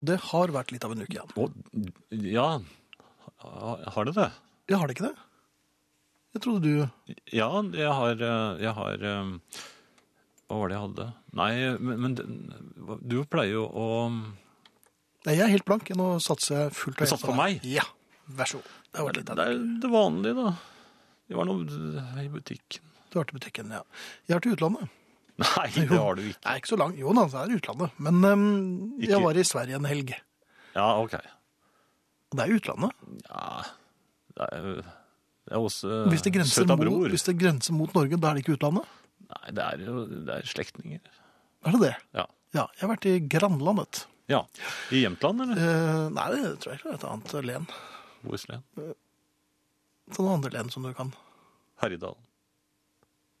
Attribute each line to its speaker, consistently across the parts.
Speaker 1: Det har vært litt av en uke, Jan.
Speaker 2: Å, ja, Ha- har det det?
Speaker 1: Jeg har det ikke det? Jeg trodde du
Speaker 2: Ja, jeg har, eh, jeg har eh, Hva var det jeg hadde? Nei, men, men den- du pleier jo å
Speaker 1: Nei, jeg er helt blank. Nå satser jeg fullt
Speaker 2: Du
Speaker 1: og helt
Speaker 2: satser på meg?
Speaker 1: Ja. Vær så god. Det har vært
Speaker 2: Det
Speaker 1: litt av
Speaker 2: det er det vanlige, da. Det var noe i butikken.
Speaker 1: Du har vært i butikken, ja. Jeg har vært i utlandet.
Speaker 2: Nei, det har du ikke.
Speaker 1: Nei, ikke så langt. Jo da, det er utlandet. Men ehm,
Speaker 2: Ikke-
Speaker 1: jeg var i Sverige en helg.
Speaker 2: Ja, OK.
Speaker 1: Og det er utlandet.
Speaker 2: Ja, det er, det er også
Speaker 1: Hvis det, grenser
Speaker 2: søta
Speaker 1: mot,
Speaker 2: bror.
Speaker 1: hvis det grenser mot Norge, da er det ikke utlandet?
Speaker 2: Nei, det er jo det er slektninger.
Speaker 1: Er det det?
Speaker 2: Ja.
Speaker 1: Ja. Jeg har vært i grannlandet.
Speaker 2: ja. I Jämtland, eller?
Speaker 1: Eh, nei, det tror jeg ikke er et annet len.
Speaker 2: Bohuslän?
Speaker 1: Sånne andre len som du kan.
Speaker 2: Herjedalen?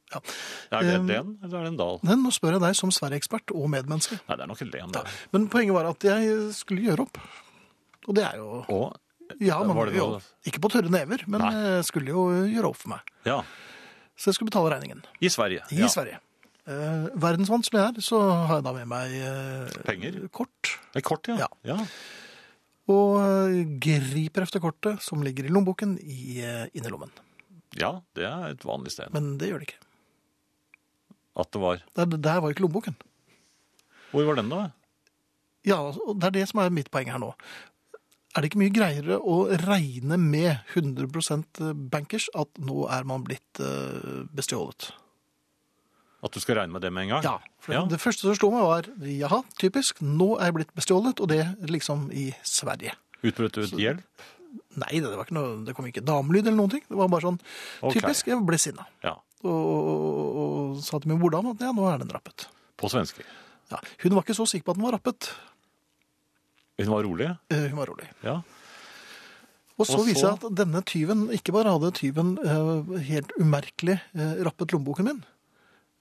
Speaker 1: Ja.
Speaker 2: Er det
Speaker 1: Um,
Speaker 2: et len, eller er det en dal?
Speaker 1: Men nå spør jeg deg som Sverige-ekspert og medmenneske.
Speaker 2: Nei, det er nok et len.
Speaker 1: Ja.
Speaker 2: det.
Speaker 1: Men poenget var at jeg skulle gjøre opp. Og det er jo
Speaker 2: Og
Speaker 1: Ja, man
Speaker 2: Var
Speaker 1: må
Speaker 2: det
Speaker 1: jo
Speaker 2: noe-
Speaker 1: Ikke på tørre never, men
Speaker 2: Nei.
Speaker 1: jeg skulle jo gjøre opp for meg.
Speaker 2: Ja.
Speaker 1: Så jeg skulle betale regningen.
Speaker 2: I Sverige.
Speaker 1: I
Speaker 2: ja.
Speaker 1: Sverige. Eh, verdensvant som jeg er, så har jeg da med meg eh,
Speaker 2: Penger?
Speaker 1: kort.
Speaker 2: Det er kort, ja.
Speaker 1: Ja.
Speaker 2: ja.
Speaker 1: Og eh, griper efter kortet som ligger i lommeboken i eh, innerlommen.
Speaker 2: Ja, det er et vanlig sted.
Speaker 1: Men det gjør det ikke.
Speaker 2: At det var
Speaker 1: Der, der var ikke lommeboken.
Speaker 2: Hvor var den, da?
Speaker 1: Ja, og Det er det som er mitt poeng her nå. Er det ikke mye greiere å regne med 100 bankers at nå er man blitt eh, bestjålet?
Speaker 2: At du skal regne med det med en gang?
Speaker 1: Ja. For
Speaker 2: ja.
Speaker 1: Det første som slo meg, var jaha, typisk, nå er jeg blitt bestjålet, og det liksom i Sverige.
Speaker 2: Utbrøt du et hjelp?
Speaker 1: Nei, det, var ikke noe, det kom ikke damelyd eller noen ting. Det var bare sånn
Speaker 2: Ok.
Speaker 1: typisk. Jeg ble sinna.
Speaker 2: Ja.
Speaker 1: Og, og, og, og sa til min hvordan at ja, nå er den rappet.
Speaker 2: På svenske.
Speaker 1: Ja, hun var ikke så sikker på at den var rappet.
Speaker 2: Hun var rolig?
Speaker 1: Eh, Hun var rolig.
Speaker 2: Ja.
Speaker 1: Og så
Speaker 2: Og så-
Speaker 1: viser det seg at denne tyven, ikke bare hadde tyven eh, helt umerkelig eh, rappet lommeboken min,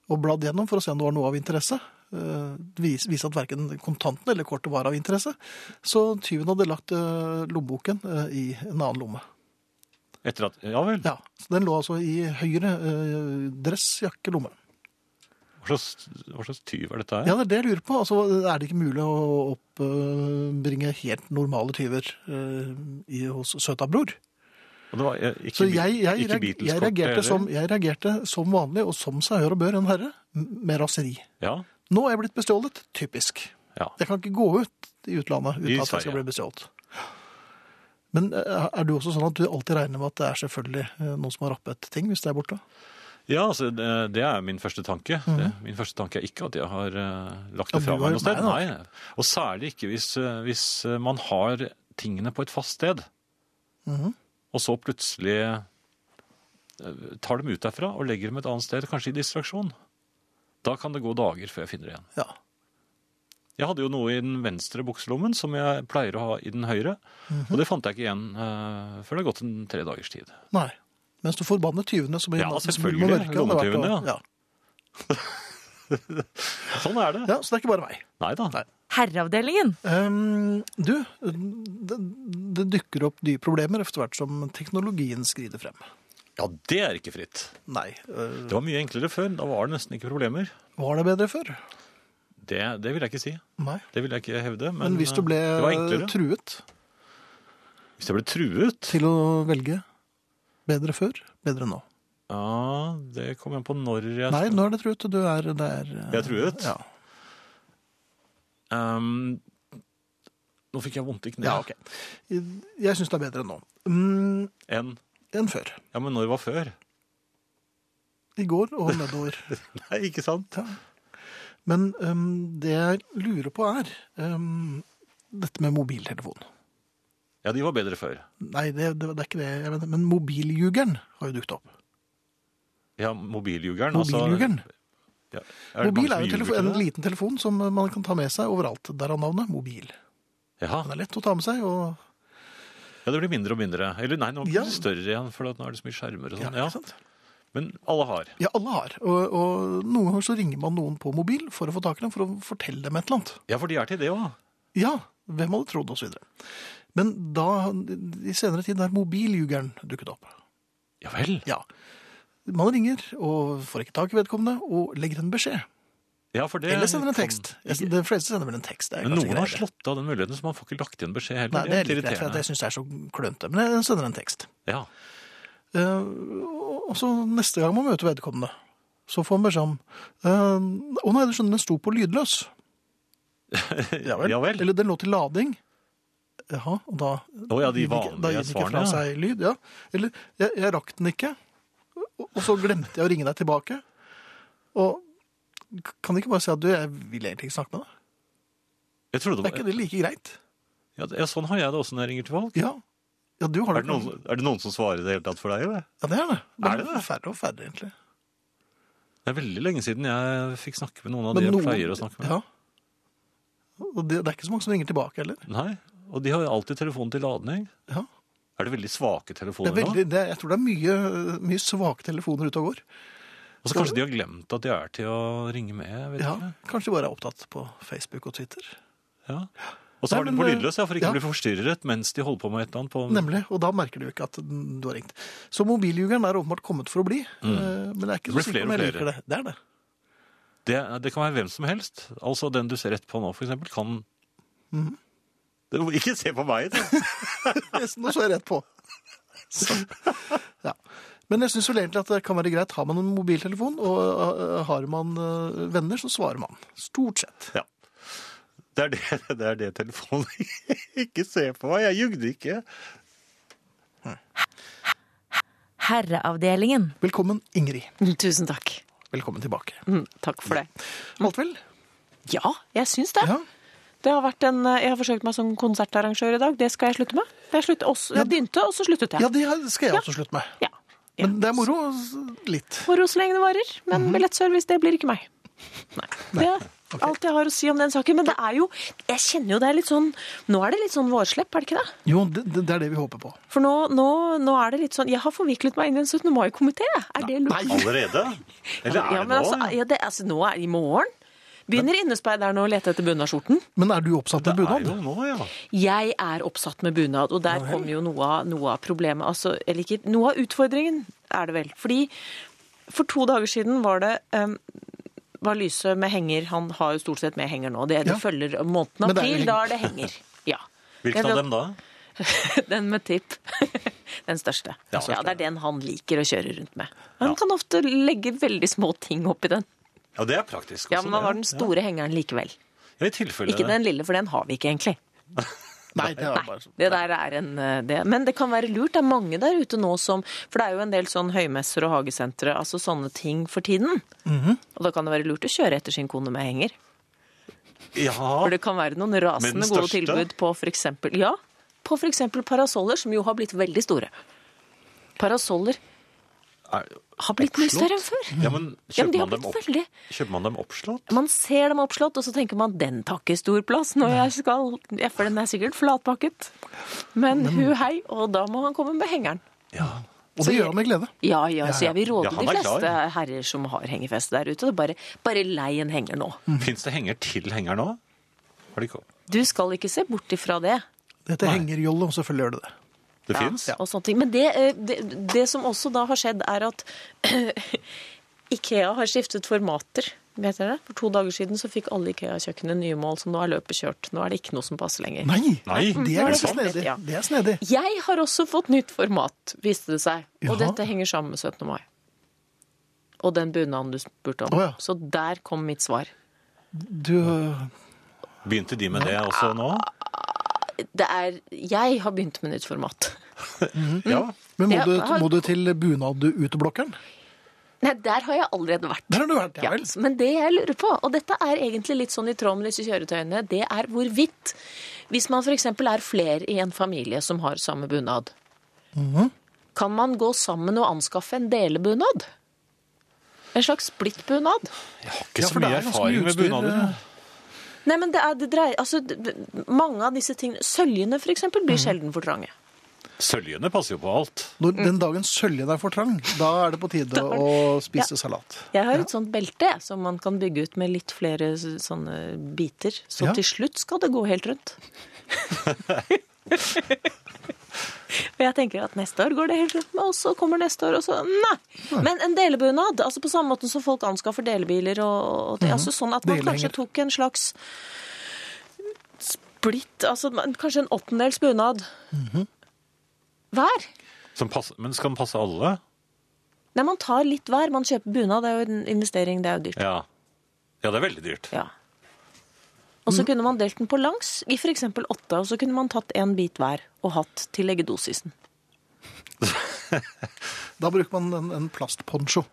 Speaker 1: og bladd gjennom for å se om det var noe av interesse, eh, vis- viste at verken kontanten eller kortet var av interesse, så tyven hadde lagt eh, lommeboken eh, i en annen lomme.
Speaker 2: Etter at Ja vel.
Speaker 1: Ja, så den lå altså i høyre eh, dress, jakke, lomme.
Speaker 2: Hva slags, hva slags tyv er dette her?
Speaker 1: Ja, det er det jeg lurer på. Altså, er det ikke mulig å oppbringe helt normale tyver eh, i, hos søta bror?
Speaker 2: Og det var, eh, ikke,
Speaker 1: Så jeg, jeg, reag-
Speaker 2: ikke
Speaker 1: jeg,
Speaker 2: Beatles-kort,
Speaker 1: reagerte
Speaker 2: eller?
Speaker 1: som, jeg reagerte som vanlig, og som seg hør og bør en herre, m- med raseri.
Speaker 2: Ja.
Speaker 1: Nå er jeg blitt bestjålet. Typisk.
Speaker 2: ja.
Speaker 1: Jeg kan ikke gå ut i utlandet uten at
Speaker 2: I
Speaker 1: jeg skal
Speaker 2: Sverige.
Speaker 1: bli bestjålet. Men eh, er du også sånn at du alltid regner med at det er selvfølgelig eh, noen som har rappet ting hvis det er borte?
Speaker 2: ja altså, det, det er min første tanke. det, min første tanke er ikke at jeg har eh, lagt
Speaker 1: Mhm. Ja,
Speaker 2: det fra
Speaker 1: du har-
Speaker 2: meg noe sted.
Speaker 1: nei,
Speaker 2: Nei, Og særlig ikke hvis, eh, hvis eh, man har tingene på et fast sted,
Speaker 1: Mhm.
Speaker 2: og så plutselig eh, tar dem ut derfra og legger dem et annet sted, kanskje i distraksjon. Da kan det gå dager før jeg finner det igjen.
Speaker 1: Ja.
Speaker 2: Jeg hadde jo noe i den venstre bukselommen som jeg pleier å ha i den høyre.
Speaker 1: Mhm.
Speaker 2: Og det fant jeg ikke igjen eh, før det har gått en tre dagers tid.
Speaker 1: Nei. Mens du forbanner tyvene som
Speaker 2: Ja,
Speaker 1: nattens mulm
Speaker 2: selvfølgelig.
Speaker 1: og mørke, hadde vært å-
Speaker 2: Lommetyvene, ja.
Speaker 1: ja.
Speaker 2: Sånn er det.
Speaker 1: ja, så det er ikke bare meg.
Speaker 2: Nei da.
Speaker 1: Nei.
Speaker 3: Herreavdelingen.
Speaker 1: Ehm, du, det, det dukker opp nye problemer etter hvert som teknologien skrider frem.
Speaker 2: Ja, det er ikke fritt.
Speaker 1: Nei. eh,
Speaker 2: Det var mye enklere før. Da var det nesten ikke problemer.
Speaker 1: var det bedre før?
Speaker 2: Det, det vil jeg ikke si.
Speaker 1: Nei.
Speaker 2: Det vil jeg ikke hevde. Men,
Speaker 1: Men, hvis du ble
Speaker 2: eh, det var enklere.
Speaker 1: truet
Speaker 2: Hvis jeg ble truet
Speaker 1: til å velge bedre før, bedre nå.
Speaker 2: Ja, det kom an på når jeg
Speaker 1: Nei, nå er det truet. Du er der.
Speaker 2: Jeg er truet?
Speaker 1: Ja.
Speaker 2: Ehm, Nå fikk jeg vondt i kneet.
Speaker 1: ja, ok. Jeg syns det er bedre nå. Mm,
Speaker 2: Enn
Speaker 1: enn før.
Speaker 2: Ja, men når var før?
Speaker 1: I går og nedover.
Speaker 2: Nei, ikke sant?
Speaker 1: Ja. Men ehm, det jeg lurer på er ehm, dette med mobiltelefon.
Speaker 2: Ja, de var bedre før.
Speaker 1: Nei, det, det, det er ikke det jeg mener. Men mobiljugeren har jo dukket opp.
Speaker 2: Ja, mobiljugeren.
Speaker 1: Mobiljugeren.
Speaker 2: ja, er det mange
Speaker 1: Mobil
Speaker 2: som
Speaker 1: er jo
Speaker 2: ljuger
Speaker 1: telefo-
Speaker 2: til
Speaker 1: en
Speaker 2: det?
Speaker 1: liten telefon som man kan ta med seg overalt. Der er navnet mobil.
Speaker 2: Ja,
Speaker 1: Den er lett å ta med seg, og
Speaker 2: ja, det blir mindre og mindre. Eller nei, nå blir
Speaker 1: Ja.
Speaker 2: det større igjen, for at nå er det så mye skjermer og
Speaker 1: ja,
Speaker 2: sånn.
Speaker 1: ikke
Speaker 2: Ja,
Speaker 1: sant?
Speaker 2: Men alle har.
Speaker 1: Ja, alle har. Og, og noen ganger så ringer man noen på mobil for å få tak i dem, for å fortelle dem et eller annet.
Speaker 2: Ja, for de er til det òg.
Speaker 1: Ja, hvem hadde trodd, og så videre. Men da, i senere tid, er mobiljugeren dukket opp.
Speaker 2: Ja vel.
Speaker 1: Ja. Man ringer og får ikke tak i vedkommende, og legger en beskjed.
Speaker 2: Ja, for det sånn-
Speaker 1: Eller sender en
Speaker 2: kan-
Speaker 1: tekst. Jeg, de fleste sender vel en tekst. Det er
Speaker 2: Men
Speaker 1: kanskje
Speaker 2: noen har
Speaker 1: greiere.
Speaker 2: slått av den muligheten, så man får ikke lagt igjen beskjed heller.
Speaker 1: Nei, det er litt greit, for
Speaker 2: irriterende.
Speaker 1: at jeg syns det er så klønete. Men jeg sender en tekst.
Speaker 2: Ja.
Speaker 1: Eh, og så neste gang man møter vedkommende, så får man beskjed om eh, Å nei, du skjønner, den sto på lydløs. Ja vel.
Speaker 2: Ja vel.
Speaker 1: Eller den lå til lading. Jaha, og da
Speaker 2: Å ja, de
Speaker 1: gir den ikke- Da
Speaker 2: vanlige
Speaker 1: gir den ikke
Speaker 2: svarene.
Speaker 1: fra
Speaker 2: ja.
Speaker 1: seg lyd, ja. Eller jeg, jeg rakk den ikke, og, og så glemte jeg å ringe deg tilbake. Og k- kan de ikke bare si at du, jeg vil egentlig ikke snakke med deg?
Speaker 2: Jeg trodde
Speaker 1: Er
Speaker 2: det
Speaker 1: ikke
Speaker 2: var...
Speaker 1: det like greit?
Speaker 2: ja, ja, sånn har jeg det også når jeg ringer til valg.
Speaker 1: Ja. Ja, du har
Speaker 2: Er det, noen, er det noen som svarer i det hele tatt for deg? Eller?
Speaker 1: Ja, det er det. Men
Speaker 2: Er det det?
Speaker 1: Færre og færre, egentlig.
Speaker 2: Det er veldig lenge siden jeg fikk snakke med noen av
Speaker 1: Men
Speaker 2: de jeg
Speaker 1: noen-
Speaker 2: pleier å snakke med.
Speaker 1: Ja. Og det, det er ikke så mange som ringer tilbake heller.
Speaker 2: Nei, Og de har jo alltid telefonen til ladning.
Speaker 1: Ja.
Speaker 2: Er det veldig svake
Speaker 1: Det er
Speaker 2: telefoner nå?
Speaker 1: veldig, det, er- jeg tror det er mye, mye svake telefoner ute og går.
Speaker 2: Og så kanskje de har glemt at de er til å ringe med? jeg Vet
Speaker 1: Ja,
Speaker 2: ikke.
Speaker 1: kanskje de bare er opptatt på Facebook og Twitter.
Speaker 2: Ja. Og så
Speaker 1: Nei,
Speaker 2: har de den på
Speaker 1: men, eh,
Speaker 2: lydløs, ja, for ikke
Speaker 1: ja.
Speaker 2: å bli forstyrret mens de holder på med et eller annet. På...
Speaker 1: Nemlig, og da merker du ikke at den- du har ringt. Så mobiljugeren er åpenbart kommet for å bli. eh, Men jeg er ikke
Speaker 2: Mm. Det
Speaker 1: så
Speaker 2: blir
Speaker 1: sikker
Speaker 2: flere
Speaker 1: på om jeg
Speaker 2: og
Speaker 1: liker
Speaker 2: flere.
Speaker 1: det. Det er det.
Speaker 2: Det, det kan være hvem som helst. Altså den du ser rett på nå, for eksempel, kan
Speaker 3: Mhm.
Speaker 2: det, Ikke se på meg! Da.
Speaker 1: Yes, Nå så jeg rett på. Så, ja. Men jeg syns vel egentlig at det kan være greit. Har man en mobiltelefon, og eh, har man eh, venner, så svarer man. Stort sett.
Speaker 2: Ja. Det er det, det er det telefonen Ikke se på meg! Jeg jugde ikke!
Speaker 3: Herreavdelingen.
Speaker 1: Velkommen, Ingrid.
Speaker 3: Tusen takk.
Speaker 1: Velkommen tilbake.
Speaker 3: Mm, takk for det.
Speaker 1: Alt vel?
Speaker 3: Ja, jeg syns det.
Speaker 1: Ja.
Speaker 3: det har vært en, eh, jeg har forsøkt meg som konsertarrangør i dag. Det skal jeg slutte med. Jeg, slutt, også, jeg begynte, og så sluttet
Speaker 1: Ja,
Speaker 3: jeg.
Speaker 1: det her skal jeg også slutte med.
Speaker 3: Ja. Ja.
Speaker 1: Men det er moro. Litt.
Speaker 3: Moro så lenge det varer, men billettservice, det blir ikke meg. Nei. Det er alt jeg har å si om den saken. Men det er jo Jeg kjenner jo det er litt sånn Nå er det litt sånn vårslepp, er det ikke det?
Speaker 1: Jo, det, det er det vi håper på.
Speaker 3: For nå, nå, nå er det litt sånn Jeg har forviklet meg inn i en 17. mai-komité. Er det lov?
Speaker 2: Allerede? Eller er det
Speaker 3: Ja, men
Speaker 2: nå?
Speaker 3: altså, ja, det, altså, nå er i morgen. Begynner innespeider'n å lete etter bunadsskjorten?
Speaker 1: Men er du oppsatt med
Speaker 2: det er
Speaker 1: bunad?
Speaker 2: jo nå, ja.
Speaker 3: Jeg er oppsatt med bunad, og der kommer jo noe av, noe av problemet. Altså, eller ikke Noe av utfordringen er det vel. Fordi for to dager siden var det em, var Lyse med henger. Han har jo stort sett med henger nå. Det, det
Speaker 1: Ja.
Speaker 3: følger måneden
Speaker 1: Men det er
Speaker 3: april,
Speaker 1: jo
Speaker 3: da er det henger. Ja.
Speaker 2: Hvilken
Speaker 3: Jeg
Speaker 2: av
Speaker 3: vet-
Speaker 2: dem da?
Speaker 3: Den med tipp. Den største. Ja,
Speaker 2: største,
Speaker 3: Det er den han liker å kjøre rundt med. Han kan ofte legge veldig små ting oppi den.
Speaker 2: Ja, det er praktisk.
Speaker 3: Ja,
Speaker 2: også,
Speaker 3: Men han
Speaker 2: det.
Speaker 3: har den store hengeren likevel.
Speaker 2: Ja, I tilfelle
Speaker 3: Ikke den lille, for den har vi ikke egentlig.
Speaker 1: Nei, det er bare
Speaker 3: Det der er en eh, det. Men det kan være lurt. Det er mange der ute nå som For det er jo en del sånn høymesser og hagesentre, altså sånne ting for tiden.
Speaker 2: Mhm.
Speaker 3: Og da kan det være lurt å kjøre etter sin kone med henger. For
Speaker 2: Ja,
Speaker 3: det kan være noen
Speaker 2: Med
Speaker 3: rasende
Speaker 2: den
Speaker 3: gode
Speaker 2: største?
Speaker 3: tilbud på f.eks. Ja, på f.eks. parasoller, som jo har blitt veldig store. Parasoller
Speaker 2: er,
Speaker 3: har blitt mye større enn før.
Speaker 2: Ja, men
Speaker 3: Ja, men
Speaker 2: kjøper,
Speaker 3: de har
Speaker 2: man dem
Speaker 3: blitt
Speaker 2: opp,
Speaker 3: veldig
Speaker 2: kjøper man dem oppslått?
Speaker 3: Man ser dem oppslått, og så tenker man den tar ikke stor plass når jeg skal ja, For den er sikkert flatpakket. Men hu hei, og da må han komme med hengeren.
Speaker 2: Ja.
Speaker 1: Og det gjør han med glede.
Speaker 3: Ja, ja, så jeg vil råde
Speaker 2: Ja, han
Speaker 3: de
Speaker 2: er klar.
Speaker 3: fleste herrer som har hengefest der ute, det er bare, bare lei en henger nå.
Speaker 2: Fins det henger til henger nå? Har de ikke?
Speaker 3: Du skal ikke se bort ifra det.
Speaker 1: Dette henger jolle, og selvfølgelig gjør det det.
Speaker 2: Det
Speaker 3: Ja,
Speaker 2: fins?
Speaker 3: Og sånne ting. Men det, eh, det, det som også da har skjedd, er at Ikea har skiftet formater. Vet dere? det? For to dager siden så fikk alle Ikea-kjøkkenet nye mål, som nå er løpet kjørt. Nå er det ikke noe som passer lenger.
Speaker 1: Nei,
Speaker 2: Nei,
Speaker 1: det
Speaker 3: er
Speaker 1: er
Speaker 3: det
Speaker 1: ganske
Speaker 3: sant?
Speaker 1: snedig.
Speaker 3: Ja.
Speaker 1: Det er snedig.
Speaker 3: Jeg har også fått nytt format, viste det seg. Og
Speaker 1: Jaha.
Speaker 3: dette henger sammen med 17. mai. Og den bunaden du spurte om.
Speaker 1: Å ja.
Speaker 3: Så der kom mitt svar.
Speaker 1: Du,
Speaker 2: Begynte de med det også nå?
Speaker 3: Det er Jeg har begynt med nytt format.
Speaker 2: Ja.
Speaker 1: men må,
Speaker 3: Ja,
Speaker 1: du,
Speaker 3: har-
Speaker 1: må du til bunad-uteblokkeren?
Speaker 3: Nei, der har jeg allerede vært.
Speaker 1: Der har du vært, ja
Speaker 3: Ja,
Speaker 1: vel.
Speaker 3: men det jeg lurer på, og dette er egentlig litt sånn i tråd med disse kjøretøyene, det er hvorvidt Hvis man f.eks. er flere i en familie som har samme bunad, Mhm. kan man gå sammen og anskaffe en delebunad? En slags splittbunad?
Speaker 2: Jeg har ikke
Speaker 1: Ja, for
Speaker 2: så
Speaker 1: det
Speaker 2: mye
Speaker 1: er ganske mye
Speaker 2: erfaring med
Speaker 1: utstyr,
Speaker 2: bunader. jeg.
Speaker 3: Nei, men det er, det dreier, altså, d- d- mange av disse tingene Søljene, for eksempel, blir sjelden for trange.
Speaker 2: Søljene passer jo på alt.
Speaker 1: Når den dagen søljen er for trang, da er det på tide å spise salat.
Speaker 3: Jeg har et sånt belte jeg, som man kan bygge ut med litt flere s- sånne biter. Så
Speaker 1: Ja.
Speaker 3: til slutt skal det gå helt rundt. Og jeg tenker at neste år går det helt fint, og så kommer neste år, og så Nei! Men en delebunad, altså på samme måten som folk anskaffer delebiler og, og det, altså sånn at man kanskje
Speaker 1: Delhenger.
Speaker 3: tok en slags splitt, altså man- kanskje en åttendels bunad hver.
Speaker 2: Som passer, men skal den passe alle?
Speaker 3: Nei, man tar litt hver. Man kjøper bunad, det er jo en investering, det er jo dyrt.
Speaker 2: Ja. ja, det er veldig dyrt.
Speaker 3: Ja. Og
Speaker 1: Mm.
Speaker 3: så kunne man delt den på langs, i f.eks. åtte, og så kunne man tatt en bit hver og hatt til leggedosisen.
Speaker 1: Da bruker man en, en plastponcho.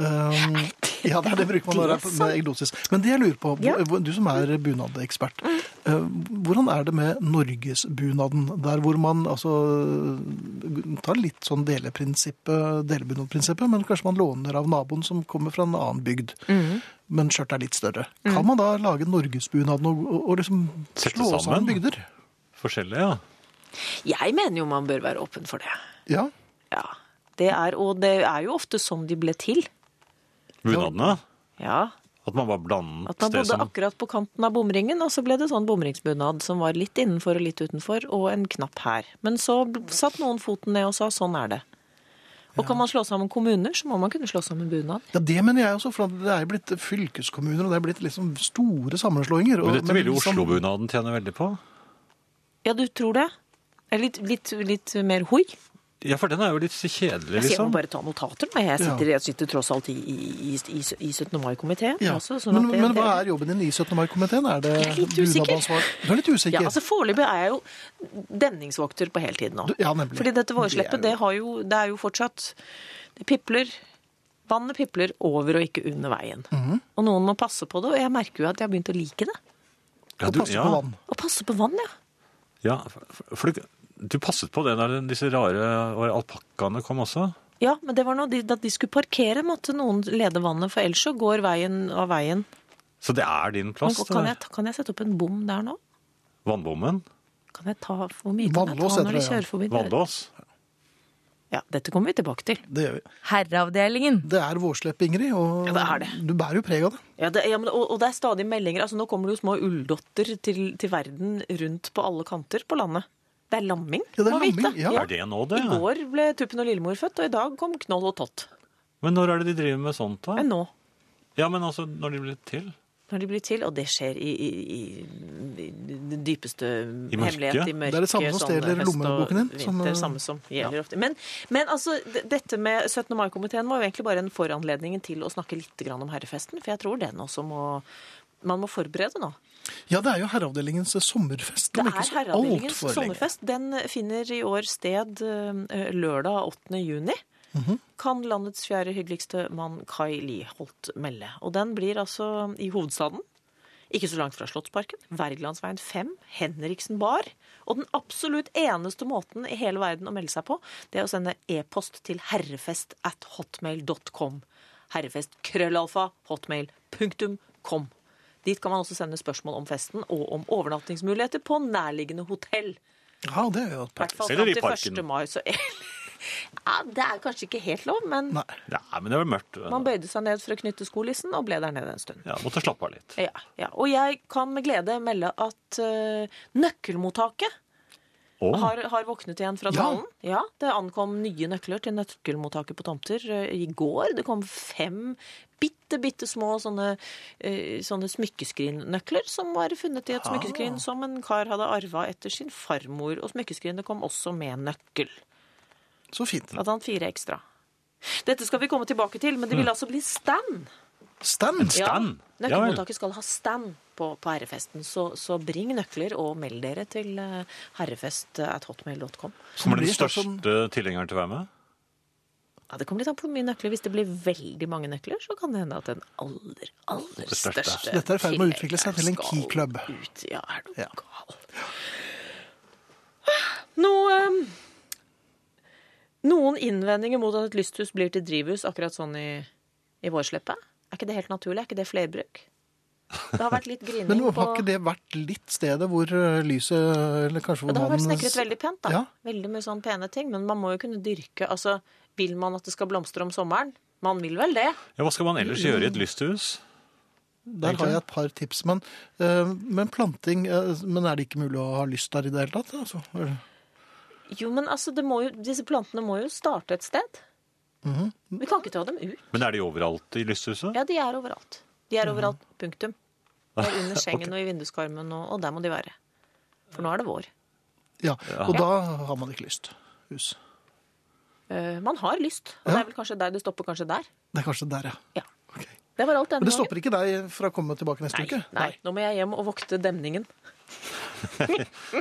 Speaker 1: Um, ja, det, er det bruker man når det er med eglosis. Men det jeg lurer på,
Speaker 3: Ja.
Speaker 1: hvor- du som er bunadekspert, eh, hvordan er det med norgesbunaden? Der hvor man altså tar litt sånn deleprinsippet, delebunadprinsippet, men kanskje man låner av naboen som kommer fra en annen bygd. Men skjørtet er litt større. Kan man da lage norgesbunaden og, og, og liksom
Speaker 2: Sette
Speaker 1: slå sammen
Speaker 2: sammen.
Speaker 1: bygder?
Speaker 2: Forskjellig, ja.
Speaker 3: Jeg mener jo man bør være åpen for det.
Speaker 1: Ja.
Speaker 3: Ja. Det er, og det er jo ofte sånn de ble til.
Speaker 2: Bunadene.
Speaker 3: Ja.
Speaker 2: At man bare blandet
Speaker 3: At man
Speaker 2: det
Speaker 3: bodde
Speaker 2: som
Speaker 3: akkurat på kanten av bomringen, og så ble det sånn bomringsbunad som var litt innenfor og litt utenfor, og en knapp her. Men så bl- satt noen foten ned og sa sånn er det. Og kan man slå sammen kommuner, så må man kunne slå sammen bunad.
Speaker 1: Ja, Det mener jeg også, for at det er blitt fylkeskommuner og det er blitt liksom store sammenslåinger. og-
Speaker 2: Men dette ville jo
Speaker 1: liksom-
Speaker 2: Oslo-bunaden tjene veldig på.
Speaker 3: Ja, du tror det? Er Litt, litt, litt mer hoi.
Speaker 2: Ja, for den er jo litt kjedelig,
Speaker 3: Jeg sier jeg
Speaker 1: sånn.
Speaker 2: liksom.
Speaker 3: må bare ta notater. nå. Jeg sitter, jeg sitter tross alt i, i, i, i, i 17. mai-komiteen.
Speaker 1: Ja.
Speaker 3: også, sånn at
Speaker 1: men,
Speaker 3: det-
Speaker 1: men
Speaker 3: det-
Speaker 1: hva er jobben din i 17. mai-komiteen? Er det
Speaker 3: Jeg er litt usikker.
Speaker 1: bunadansvar? Du er litt usikker?
Speaker 3: Ja, altså Foreløpig er jeg jo demningsvokter på heltid nå.
Speaker 1: Du- ja, nemlig.
Speaker 3: Fordi dette vårsleppet,
Speaker 1: Det
Speaker 3: det,
Speaker 1: er
Speaker 3: har jo, det er jo fortsatt Det pipler. Vannet pipler over og ikke under veien.
Speaker 1: Mhm.
Speaker 3: Og noen må passe på det, og jeg merker jo at jeg har begynt å like det.
Speaker 2: Ja,
Speaker 1: Og
Speaker 2: du,
Speaker 1: passe
Speaker 2: ja,
Speaker 1: på vann.
Speaker 3: Å passe på vann, ja.
Speaker 2: ja, for- for du, du passet på det der disse rare alpakkaene kom også?
Speaker 3: Ja, men det var nå de, Da de skulle parkere, måtte noen lede vannet, for ellers så går veien av veien.
Speaker 2: Så det er din
Speaker 3: Men
Speaker 2: plass? det
Speaker 3: kan,
Speaker 2: der.
Speaker 3: jeg, kan jeg sette opp en bom der nå?
Speaker 2: Vannbommen?
Speaker 3: Kan jeg ta, Hvor mye kan jeg
Speaker 1: Vannlås
Speaker 3: ta
Speaker 1: heter
Speaker 3: når de
Speaker 1: det, ja.
Speaker 3: kjører forbi? der?
Speaker 2: Vanndås?
Speaker 3: Ja, Dette kommer vi tilbake til.
Speaker 1: Det gjør vi.
Speaker 4: Herreavdelingen.
Speaker 1: Det er vårslepp, Ingrid, og
Speaker 3: Ja, det er det.
Speaker 1: du bærer jo preg av det.
Speaker 3: Ja, det, ja, men, og, og det er stadig meldinger. Altså, nå kommer det jo små ulldotter til, til verden rundt på alle kanter på landet. Det er lamming,
Speaker 1: Ja, det er
Speaker 3: må vi vite.
Speaker 1: lamming, ja.
Speaker 2: Er det nå, det?
Speaker 3: I går ble Tuppen og Lillemor født, og i dag kom Knoll og Tott.
Speaker 2: Men når er det de driver med sånt, da?
Speaker 3: Men nå,
Speaker 2: Ja, men altså, når de blir til?
Speaker 3: når de blir til, og det skjer i, i, i, i den dypeste
Speaker 2: I mørket.
Speaker 3: hemmelighet i mørket.
Speaker 1: Det er det samme som
Speaker 3: sånn
Speaker 1: stjeler
Speaker 3: høst og
Speaker 1: lommeboken din,
Speaker 3: vinter,
Speaker 1: som, eh,
Speaker 3: samme som gjelder ofte. Men, men altså, d- dette med 17. mai-komiteen var jo egentlig bare en foranledning til å snakke litt grann om herrefesten, for jeg tror den også må man må forberede nå.
Speaker 1: Ja, det er jo herreavdelingens sommerfest.
Speaker 3: Det
Speaker 1: om
Speaker 3: er
Speaker 1: ikke så
Speaker 3: herreavdelingens
Speaker 1: altfor lenge.
Speaker 3: sommerfest. Den finner i år sted eh, lørdag 8. juni.
Speaker 1: Mhm.
Speaker 3: Kan landets fjerde hyggeligste mann Kai Liholt melde. Og den blir altså i hovedstaden. Ikke så langt fra Slottsparken. Wergelandsveien 5. Henriksen bar. Og den absolutt eneste måten i hele verden å melde seg på, det er å sende e-post til herrefest at hotmail.com. Herrefest krøllalfa hotmail punktum com. Dit kan man også sende spørsmål om festen og om overnattingsmuligheter på nærliggende hotell.
Speaker 1: Ja, det er jo
Speaker 3: I hvert fall
Speaker 2: Eller i
Speaker 3: fram til
Speaker 2: parken.
Speaker 3: 1. mai. Så, ja, det er kanskje ikke helt lov, men
Speaker 1: Nei.
Speaker 2: Nei, men det er vel mørkt.
Speaker 3: man bøyde seg ned for å knytte skolissen og ble der nede en stund.
Speaker 2: Ja, måtte slappe av litt.
Speaker 3: Ja, ja. Og jeg kan med glede melde at eh, nøkkelmottaket
Speaker 2: Å,
Speaker 3: har, har våknet igjen fra
Speaker 1: Ja.
Speaker 3: dalen. Ja. Det ankom nye nøkler til nøkkelmottaket på tomter eh, i går. Det kom fem bitte, bitte små sånne, eh, sånne smykkeskrinnøkler som var funnet i et smykkeskrin som en kar hadde arva etter sin farmor. Og smykkeskrinet kom også med nøkkel.
Speaker 1: Så fint.
Speaker 3: Blant annet fire ekstra. Dette skal vi komme tilbake til, men det vil altså bli stand.
Speaker 1: Stand!
Speaker 3: Ja,
Speaker 2: Stand? Ja vel.
Speaker 3: Nøkkelmottaket skal ha stand på, på herrefesten, så, så bring nøkler og meld dere til eh, herrefest at hotmail.com.
Speaker 2: kommer den
Speaker 1: blir det sånn-
Speaker 2: største tilhengeren til å være med?
Speaker 3: Ja, Det kommer litt an på hvor mye nøkler. Hvis det blir veldig mange nøkler, så kan det hende at den aller, aller
Speaker 2: største.
Speaker 3: største
Speaker 1: Dette er i ferd med å utvikle seg til en
Speaker 3: tilhengeren
Speaker 1: key club.
Speaker 3: skal Ut. Ja, er du
Speaker 1: Ja.
Speaker 3: gal. Noe eh, Noen innvendinger mot at et lysthus blir til drivhus akkurat sånn i, i vårsleppet? Er ikke det helt naturlig? Er ikke det flerbruk? Det har vært litt grining
Speaker 1: Men
Speaker 3: på
Speaker 1: har ikke det vært litt stedet hvor eh, lyset Eller kanskje hvor
Speaker 3: Det har vært snekret
Speaker 1: mannen
Speaker 3: veldig pent, da.
Speaker 1: Ja.
Speaker 3: Veldig mye sånn pene ting. Men man må jo kunne dyrke Altså, vil man at det skal blomstre om sommeren? Man vil vel det?
Speaker 2: Ja, Hva skal man ellers gjøre i et lysthus?
Speaker 1: Der har jeg et par tips. Men, eh, men planting eh, Men er det ikke mulig å ha lyst der i det hele tatt? Altså?
Speaker 3: Jo, men altså, det må jo, disse plantene må jo starte et sted.
Speaker 1: Mhm.
Speaker 3: Vi kan ikke ta dem ut.
Speaker 2: Men er de overalt i lysthuset?
Speaker 3: Ja, de er overalt. De
Speaker 1: Mhm.
Speaker 3: er overalt, punktum. De er under sengen og i vinduskarmen, og, og der må de være. For nå er det vår.
Speaker 1: Ja, og da har man ikke lyst. Hus.
Speaker 3: Eh, man har lyst, og det er vel kanskje der det stopper kanskje der.
Speaker 1: Det er kanskje der, ja.
Speaker 3: Ja.
Speaker 1: Ok.
Speaker 3: Det var alt
Speaker 1: Men
Speaker 3: denne
Speaker 1: det
Speaker 3: gangen.
Speaker 1: stopper ikke deg fra å komme tilbake neste
Speaker 3: Nei,
Speaker 1: uke?
Speaker 3: nei, nå må jeg hjem og vokte demningen.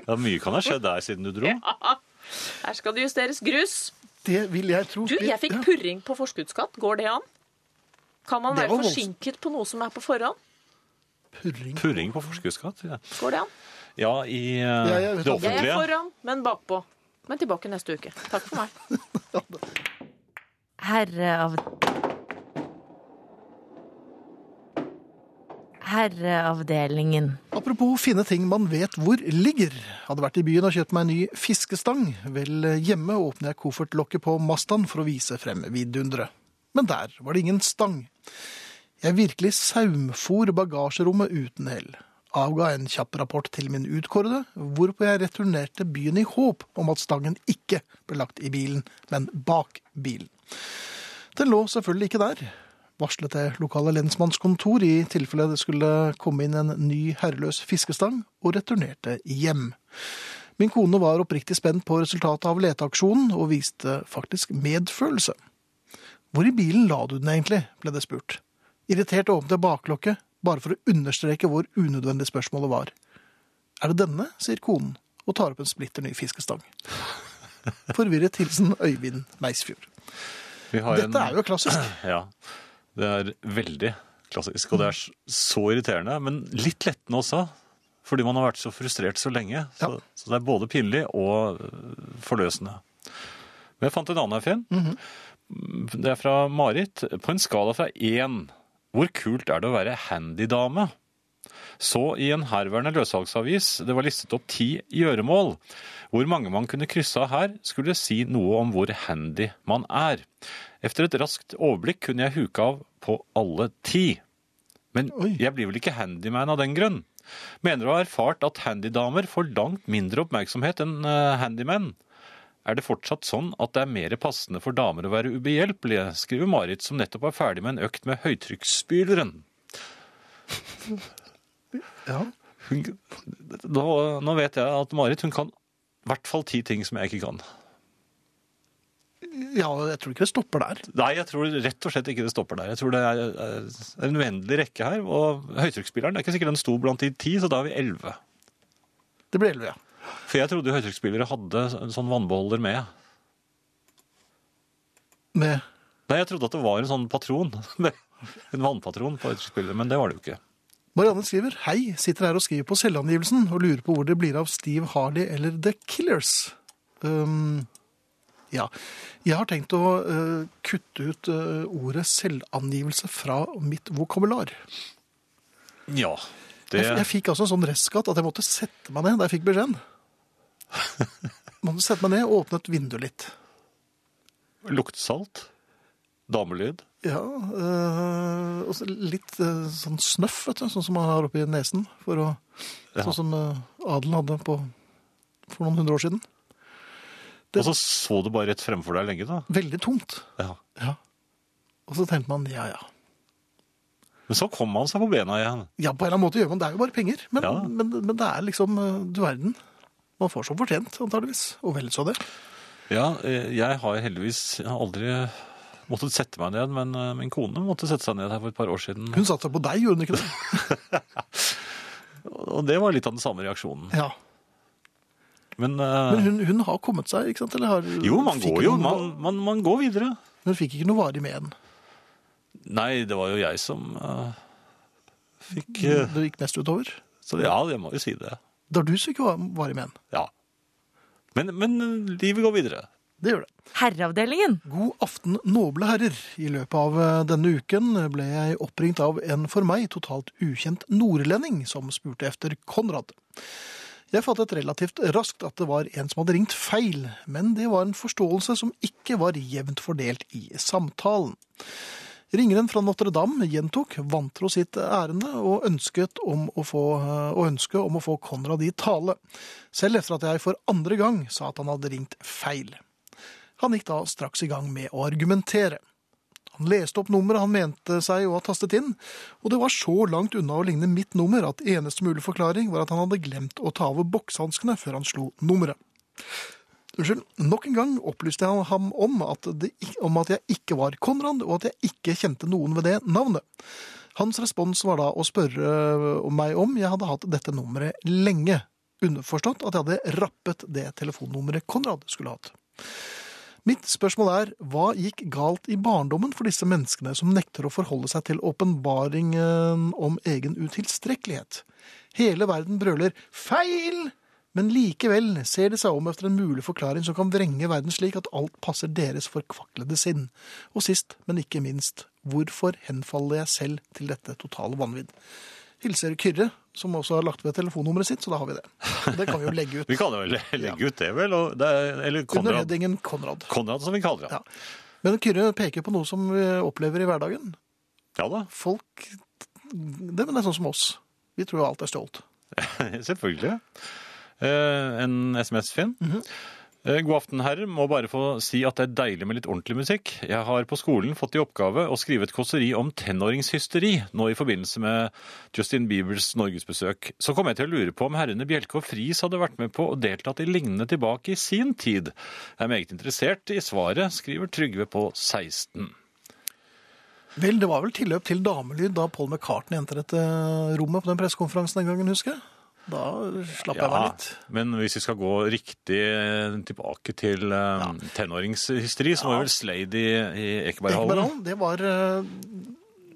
Speaker 2: Ja, Mye kan ha skjedd der siden du dro.
Speaker 3: Her skal det justeres grus.
Speaker 1: Det vil jeg tro.
Speaker 3: Du, jeg fikk
Speaker 1: Ja.
Speaker 3: purring på forskuddsskatt. Går det an? Kan man
Speaker 1: Det
Speaker 3: være
Speaker 1: var voldsomt.
Speaker 3: forsinket på noe som er på forhånd?
Speaker 1: purring.
Speaker 2: Purring på forskuddsskatt? Ja,
Speaker 3: Går det an?
Speaker 2: ja i eh,
Speaker 1: jeg vet
Speaker 2: det
Speaker 1: aldri.
Speaker 3: Jeg er
Speaker 2: offentlige.
Speaker 3: foran, men bakpå. Men tilbake neste uke. Takk for meg.
Speaker 4: Herre av Herreavdelingen.
Speaker 1: Apropos finne ting man vet hvor ligger. Hadde vært i byen og kjøpt meg en ny fiskestang. Vel hjemme åpner jeg koffertlokket på Mazdaen for å vise frem vidunderet. Men der var det ingen stang. Jeg virkelig saumfor bagasjerommet uten hell. Avga en kjapp rapport til min utkårede, hvorpå jeg returnerte byen i håp om at stangen ikke ble lagt i bilen, men bak bilen. Den lå selvfølgelig ikke der. Varslet jeg lokale lensmannskontor i tilfelle det skulle komme inn en ny herreløs fiskestang, og returnerte hjem. Min kone var oppriktig spent på resultatet av leteaksjonen, og viste faktisk medfølelse. Hvor i bilen la du den egentlig, ble det spurt. Irritert åpnet jeg baklokket, bare for å understreke hvor unødvendig spørsmålet var. Er det denne, sier konen, og tar opp en splitter ny fiskestang. Forvirret hilsen Øyvind Meisfjord.
Speaker 2: Vi har en-
Speaker 1: Dette er jo klassisk.
Speaker 2: Ja, det er veldig klassisk, og det er s- så irriterende, men litt lettende også, fordi man har vært så frustrert så lenge. Så,
Speaker 1: Ja.
Speaker 2: så det er både pinlig og øh, forløsende. Men jeg fant en annen her, Finn. Det er fra Marit. På en skala fra én, hvor kult er det å være handydame? Så i en herværende løssalgsavis det var listet opp ti gjøremål. Hvor mange man kunne krysse av her, skulle si noe om hvor handy man er. Efter et raskt overblikk kunne jeg huke av på alle ti. Men
Speaker 1: Oi.
Speaker 2: jeg blir vel ikke handyman av den grunn. Mener å ha erfart at handydamer får langt mindre oppmerksomhet enn eh, handymenn. Er det fortsatt sånn at det er mer passende for damer å være ubehjelpelige, skriver Marit, som nettopp er ferdig med en økt med høytrykksspyleren.
Speaker 1: Ja.
Speaker 2: Hun, nå, nå vet jeg at Marit hun kan i hvert fall ti ting som jeg ikke kan.
Speaker 1: Ja, jeg tror ikke det stopper der.
Speaker 2: Nei, jeg tror rett og slett ikke det stopper der. Jeg tror det er er en uendelig rekke her. Og høytrykksspilleren, det er ikke sikkert den sto blant de ti, så da er vi elleve.
Speaker 1: Det blir 11, ja.
Speaker 2: For jeg trodde høytrykksspillere hadde en sånn vannbeholder med.
Speaker 1: Med
Speaker 2: Nei, jeg trodde at det var en sånn patron. En vannpatron på høytrykksspillere, men det var det jo ikke.
Speaker 1: Marianne skriver Hei, sitter her og skriver på selvangivelsen og lurer på hvor det blir av Steve Harley eller The Killers. Ehm, ja. Jeg har tenkt å eh, kutte ut eh, ordet selvangivelse fra mitt vokabular.
Speaker 2: Ja, det,
Speaker 1: Jeg, jeg fikk altså en sånn restskatt at jeg måtte sette meg ned da jeg fikk beskjeden. måtte sette meg ned og åpne et vindu litt.
Speaker 2: luktesalt, damelyd.
Speaker 1: Ja, eh, og så litt eh, sånn snøff, vet du, sånn som man har oppi nesen. For å,
Speaker 2: Ja.
Speaker 1: Sånn som eh, adelen hadde på, for noen hundre år siden. Det-
Speaker 2: Og så så du bare rett fremfor deg lenge, da.
Speaker 1: Veldig tomt.
Speaker 2: Ja.
Speaker 1: Ja. Og så tenkte man ja, ja.
Speaker 2: Men så kom han seg på bena igjen.
Speaker 1: Ja, på en eller annen måte gjør man det. er jo bare penger. Men,
Speaker 2: Ja.
Speaker 1: men, men det er liksom eh, du verden. Man får som fortjent, antageligvis. Og vel så det.
Speaker 2: Ja, eh, jeg har heldigvis aldri måttet sette meg ned, men eh, min kone måtte sette seg ned her for et par år siden.
Speaker 1: Hun satsa på deg, gjorde hun ikke det?
Speaker 2: Og det var litt av den samme reaksjonen.
Speaker 1: Ja.
Speaker 2: Men,
Speaker 1: Men
Speaker 2: eh,
Speaker 1: hun, hun har kommet seg, ikke sant? Eller har,
Speaker 2: jo, man
Speaker 1: fikk
Speaker 2: går jo
Speaker 1: noe-
Speaker 2: man, man, man går videre.
Speaker 1: Hun fikk ikke noe varig med den.
Speaker 2: Nei, det var jo jeg som eh, fikk eh,
Speaker 1: Det gikk mest utover.
Speaker 2: Så ja, jeg må jo si det.
Speaker 1: Det er du som ikke var varig med den.
Speaker 2: Ja. Men, men eh, livet går videre.
Speaker 1: Det gjør det.
Speaker 4: Herreavdelingen.
Speaker 1: God aften, noble herrer. I løpet av eh, denne uken ble jeg oppringt av en for meg totalt ukjent nordlending som spurte efter Konrad. Jeg fattet relativt raskt at det var en som hadde ringt feil, men det var en forståelse som ikke var jevnt fordelt i samtalen. Ringeren fra Notre-Dame gjentok vantro sitt ærende og ønsket om å få, eh, og ønsket om å få Konrad i tale, selv etter at jeg for andre gang sa at han hadde ringt feil. Han gikk da straks i gang med å argumentere. Han leste opp nummeret han mente seg å ha tastet inn, og det var så langt unna å ligne mitt nummer at eneste mulige forklaring var at han hadde glemt å ta av bokshanskene før han slo nummeret. Unnskyld, nok en gang opplyste jeg ham om at, det, ik- om at jeg ikke var Konrad, og at jeg ikke kjente noen ved det navnet. Hans respons var da å spørre eh, meg om jeg hadde hatt dette nummeret lenge, underforstått at jeg hadde rappet det telefonnummeret Konrad skulle hatt. Mitt spørsmål er, hva gikk galt i barndommen for disse menneskene som nekter å forholde seg til åpenbaringen om egen utilstrekkelighet? Hele verden brøler feil, men likevel ser de seg om etter en mulig forklaring som kan vrenge verden slik at alt passer deres forkvaklede sinn. Og sist, men ikke minst, hvorfor henfaller jeg selv til dette totale vanvidd? Hilser Kyrre, som også har lagt ved telefonnummeret sitt, så da har vi det. Det kan vi jo legge ut.
Speaker 2: Vi kan jo le- legge ut det, vel? Og det er, eller
Speaker 1: Under
Speaker 2: Konrad,
Speaker 1: headingen Konrad.
Speaker 2: Konrad, som vi kaller
Speaker 1: Ja.
Speaker 2: han.
Speaker 1: Men Kyrre peker på noe som vi opplever i hverdagen.
Speaker 2: Ja, da,
Speaker 1: Folk Det men det er sånn som oss. Vi tror jo alt er stjålet.
Speaker 2: selvfølgelig. Eh, en SMS, Finn. Eh, God aften, herrer. Må bare få si at det er deilig med litt ordentlig musikk. Jeg har på skolen fått i oppgave å skrive et kåseri om tenåringshysteri nå i forbindelse med Justin Biebers norgesbesøk. Så kom jeg til å lure på om herrene Bjelke og Friis hadde vært med på og deltatt i lignende tilbake i sin tid. Jeg er meget interessert i svaret, skriver Trygve på 16.
Speaker 1: Vel, det var vel tilløp til damelyd da Paul McCartney entret eh, rommet på den pressekonferansen den gangen, husker jeg. Da slapp jeg meg litt.
Speaker 2: Men hvis vi skal gå riktig eh, tilbake til eh, tenåringshysteri, så var vel Slade i, i Ekeberghallen.
Speaker 1: Ekeberghallen, det var eh,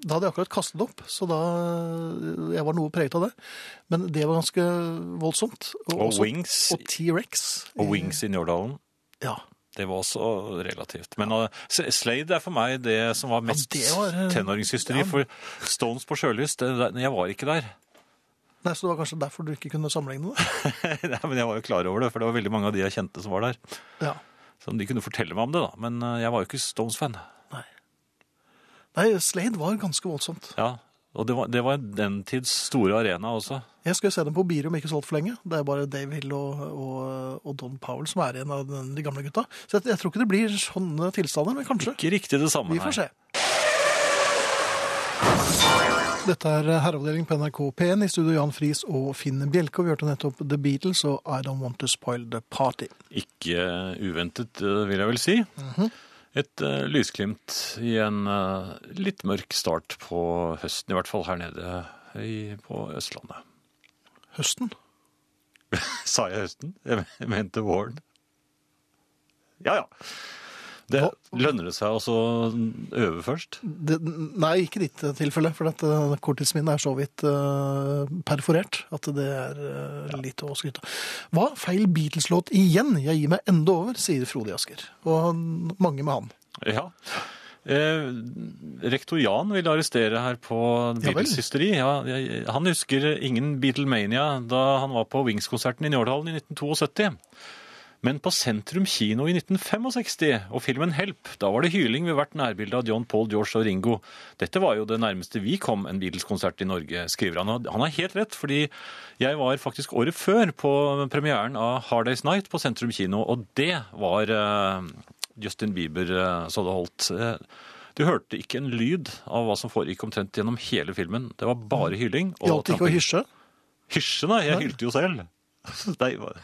Speaker 1: Da hadde jeg akkurat kastet opp, så da eh, Jeg var noe preget av det. Men det var ganske voldsomt.
Speaker 2: Og
Speaker 1: også-
Speaker 2: Wings,
Speaker 1: Og T-rex.
Speaker 2: og Wings i Njårdalen.
Speaker 1: Ja.
Speaker 2: Det var også relativt. Men eh, S- Slade er for meg det som var mest
Speaker 1: det var, eh,
Speaker 2: tenåringshysteri. For Stones på Sjølyst, det- det- jeg var ikke der.
Speaker 1: Nei, Så det var kanskje derfor du ikke kunne sammenligne det?
Speaker 2: Nei, Men jeg var jo klar over det, for det var veldig mange av de jeg kjente som var der.
Speaker 1: Ja.
Speaker 2: Så de kunne fortelle meg om det, da. Men eh, jeg var jo ikke Stones-fan.
Speaker 1: Nei. Nei, Slade var ganske voldsomt.
Speaker 2: Ja, Og det var, det var den tids store arena også.
Speaker 1: Jeg skal jo se dem på Birum ikke så altfor lenge. Det er bare Dave Hill og, og, og Don Powell som er igjen av den, de gamle gutta. Så jeg, jeg tror ikke det blir sånne tilstander, men kanskje.
Speaker 2: Ikke riktig det samme,
Speaker 1: Vi får se. Dette er herreavdeling på NRK P1 i studio Jan Friis og Finn Bjelke. og Vi hørte nettopp The Beatles og I Don't Want To Spoil The Party.
Speaker 2: Ikke uventet, eh, vil jeg vel si. Et eh, lysglimt i en eh, litt mørk start på høsten, i hvert fall her nede i, på Østlandet.
Speaker 1: Høsten.
Speaker 2: Sa jeg høsten? Jeg men- mente våren. Ja, ja. Det lønner det seg altså å øve først?
Speaker 1: Det, nei, ikke i ditt eh, tilfelle, for dette korttidsminnet er så vidt eh, perforert at det er eh, litt å skryte av. Hva? Feil Beatles-låt igjen? Jeg gir meg enda over, sier Frode Asker. Og mange med han.
Speaker 2: Ja. Eh, rektor Jan vil arrestere her på
Speaker 1: Ja vel.
Speaker 2: Beatles-hysteri. Ja, jeg- han husker ingen Beatlemania da han var på Wings-konserten i Njårdalen i 1972. Men på Sentrum kino i 1965 og filmen Help, da var det hyling ved hvert nærbilde av John Paul, George og Ringo. Dette var jo det nærmeste vi kom en Beatles-konsert i Norge, skriver han. Og Han har helt rett, fordi jeg var faktisk året før på premieren av Hard Days Night på Sentrum kino, og det var eh, Justin Bieber eh, så det holdt. Eh, du hørte ikke en lyd av hva som foregikk omtrent gjennom hele filmen. Det var bare hyling. og
Speaker 1: Gjaldt ikke å
Speaker 2: tramping.
Speaker 1: hysje
Speaker 2: Hysje, nei. Jeg hylte jo selv. Nei, hva-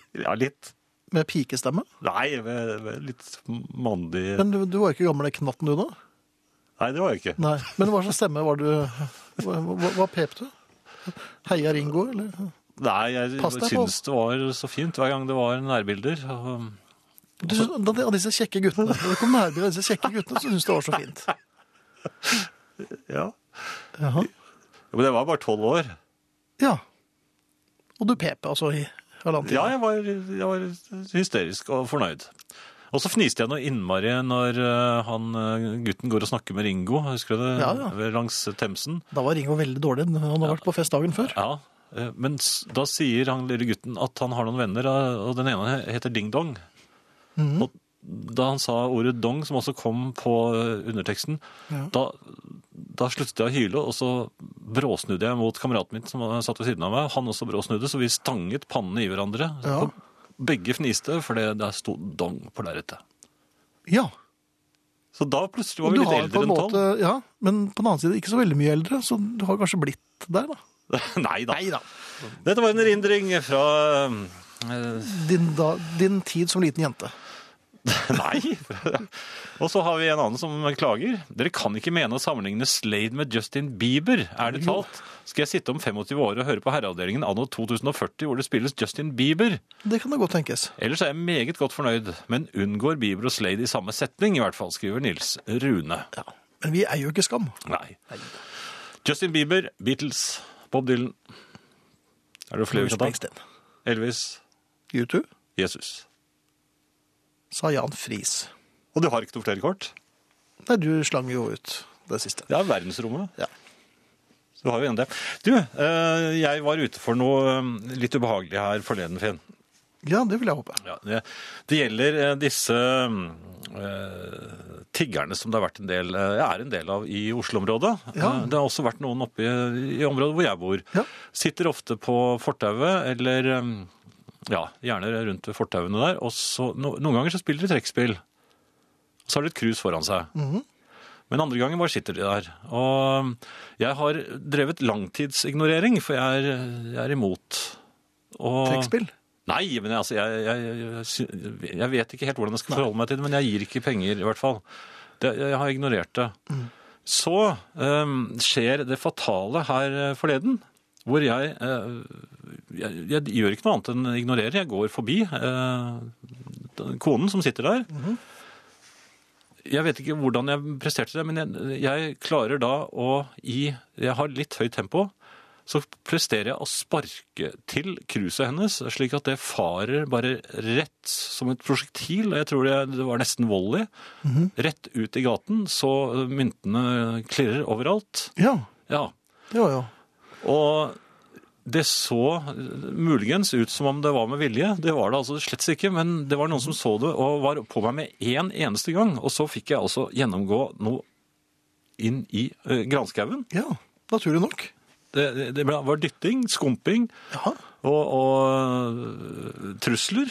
Speaker 2: ja, litt.
Speaker 1: med pikestemme.
Speaker 2: Nei, med, med litt mandig
Speaker 1: Men du, du var ikke gammel den knatten du da?
Speaker 2: Nei, det var jeg ikke.
Speaker 1: Nei. Men hva slags stemme var du Hva, hva, hva pep du? Heia Ringo, eller?
Speaker 2: Nei, jeg
Speaker 1: Pass deg,
Speaker 2: syns det var så fint hver gang det var nærbilder. og-
Speaker 1: Du, da de- av disse kjekke guttene. Når det kom nærbilde av disse kjekke guttene, så syntes du det var så fint.
Speaker 2: Ja.
Speaker 1: Jaha.
Speaker 2: Men jeg var bare tolv år.
Speaker 1: Ja. Og du pep, altså, i halvannen time.
Speaker 2: Ja, jeg var, jeg var hysterisk og fornøyd. Og så fniste jeg noe innmari når eh, han eh, gutten går og snakker med Ringo, husker du det?
Speaker 1: Ja, ja.
Speaker 2: Ved- Langs Themsen.
Speaker 1: Da var Ringo veldig dårlig. Han hadde vært på fest dagen før.
Speaker 2: Ja, eh, men s- da
Speaker 1: Mhm.
Speaker 2: sier han lille gutten at han har noen venner, eh, og den ene heter Ding Dong. Og da han sa ordet dong, som også kom på eh, underteksten,
Speaker 1: Ja.
Speaker 2: da, da sluttet jeg å hyle, og så bråsnudde jeg mot kameraten min som satt ved siden av meg. Han også bråsnudde, så vi stanget pannene i hverandre.
Speaker 1: Ja.
Speaker 2: Og Begge fniste, for det der sto dong på lerretet.
Speaker 1: Ja.
Speaker 2: Så da plutselig var
Speaker 1: Og
Speaker 2: vi
Speaker 1: du
Speaker 2: litt
Speaker 1: har på
Speaker 2: eldre
Speaker 1: en
Speaker 2: enn
Speaker 1: måte,
Speaker 2: tolv.
Speaker 1: ja, men på den annen side ikke så veldig mye eldre, så du har kanskje blitt der, da.
Speaker 2: Nei da. Dette var en erindring fra eh,
Speaker 1: Din, da, din tid som liten jente.
Speaker 2: Nei. og så har vi en annen som klager. Dere kan ikke mene å sammenligne Slade med Justin Bieber, er det talt. Skal jeg sitte om 25 år og høre på Herreavdelingen anno 2040 hvor det spilles Justin Bieber?
Speaker 1: Det kan da godt tenkes.
Speaker 2: Ellers er jeg meget godt fornøyd, men unngår Bieber og Slade i samme setning, i hvert fall, skriver Nils Rune.
Speaker 1: Ja. Men vi er jo ikke skam.
Speaker 2: Nei. Justin Bieber, Beatles, Bob Dylan. Er det flere
Speaker 1: Bruce
Speaker 2: vi kan ta?
Speaker 1: Springsteen.
Speaker 2: Elvis,
Speaker 1: U2,
Speaker 2: Jesus.
Speaker 1: sa Jan Friis.
Speaker 2: Og du har ikke noe flere kort?
Speaker 1: Nei, du slang jo ut det siste.
Speaker 2: Det er verdensrommet.
Speaker 1: Ja.
Speaker 2: Du har jo en det. Du, eh, jeg var ute for noe eh, litt ubehagelig her forleden, Finn.
Speaker 1: Ja, det vil jeg håpe.
Speaker 2: Ja, det, det gjelder eh, disse eh, tiggerne som det har vært en del, eh, er en del av i Oslo-området.
Speaker 1: Ja.
Speaker 2: Eh, Det har også vært noen oppe i, i området hvor jeg bor.
Speaker 1: Ja.
Speaker 2: Sitter ofte på fortauet, eller eh, ja, gjerne rundt ved fortauene der. Og så, no, noen ganger så spiller de trekkspill. Og så har de et krus foran seg.
Speaker 1: Mhm.
Speaker 2: Men andre gangen bare sitter de der. Og eh, jeg har drevet langtidsignorering, for jeg er, eh, jeg er imot. Og-
Speaker 1: Trekkspill.
Speaker 2: Nei, men jeg, altså, jeg, jeg, jeg, sy- jeg vet ikke helt hvordan jeg skal forholde meg til det, men jeg gir ikke penger i hvert fall. Det, jeg har ignorert det. Så øhm, skjer det fatale her øh, forleden, hvor jeg, øh, jeg, jeg gjør ikke noe annet enn å ignorere. Jeg går forbi øh, den konen som sitter der. Jeg vet ikke hvordan jeg presterte det, men jeg, jeg klarer da å i Jeg har litt høyt tempo så presterer jeg å sparke til kruset hennes, slik at det farer bare rett som et prosjektil. og Jeg tror det, det var nesten volley. Rett ut i gaten, så myntene klirrer overalt.
Speaker 1: Ja,
Speaker 2: Ja,
Speaker 1: det var jo
Speaker 2: og det så muligens ut som om det var med vilje. Det var det altså slett ikke, men det var noen som så det og var på meg med én eneste gang. Og så fikk jeg altså gjennomgå noe inn i eh, granskauen.
Speaker 1: Ja, naturlig nok.
Speaker 2: Det, det- det ble- var dytting, skumping
Speaker 1: Ja.
Speaker 2: og, og øh, trusler.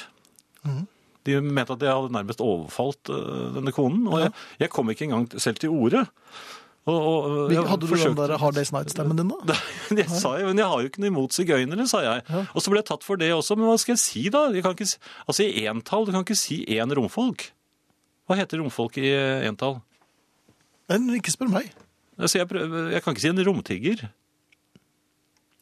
Speaker 1: Mhm.
Speaker 2: De mente at jeg hadde nærmest overfalt øh, denne konen, og jeg, jeg kom ikke engang selv til ordet. Og, og, øh, jeg
Speaker 1: Hadde du den
Speaker 2: forsøkte-
Speaker 1: der Hard Days Night-stemmen din, da?
Speaker 2: jeg sa jo, men jeg har jo ikke noe imot sigøynere, sa jeg. Og så ble jeg tatt for det også, men hva skal jeg si da? Jeg kan ikke, si- altså i entall, du kan ikke si én romfolk. Hva heter romfolk i eh, entall?
Speaker 1: Nei, ikke spør meg.
Speaker 2: Altså jeg, prøver, jeg kan ikke si en romtigger.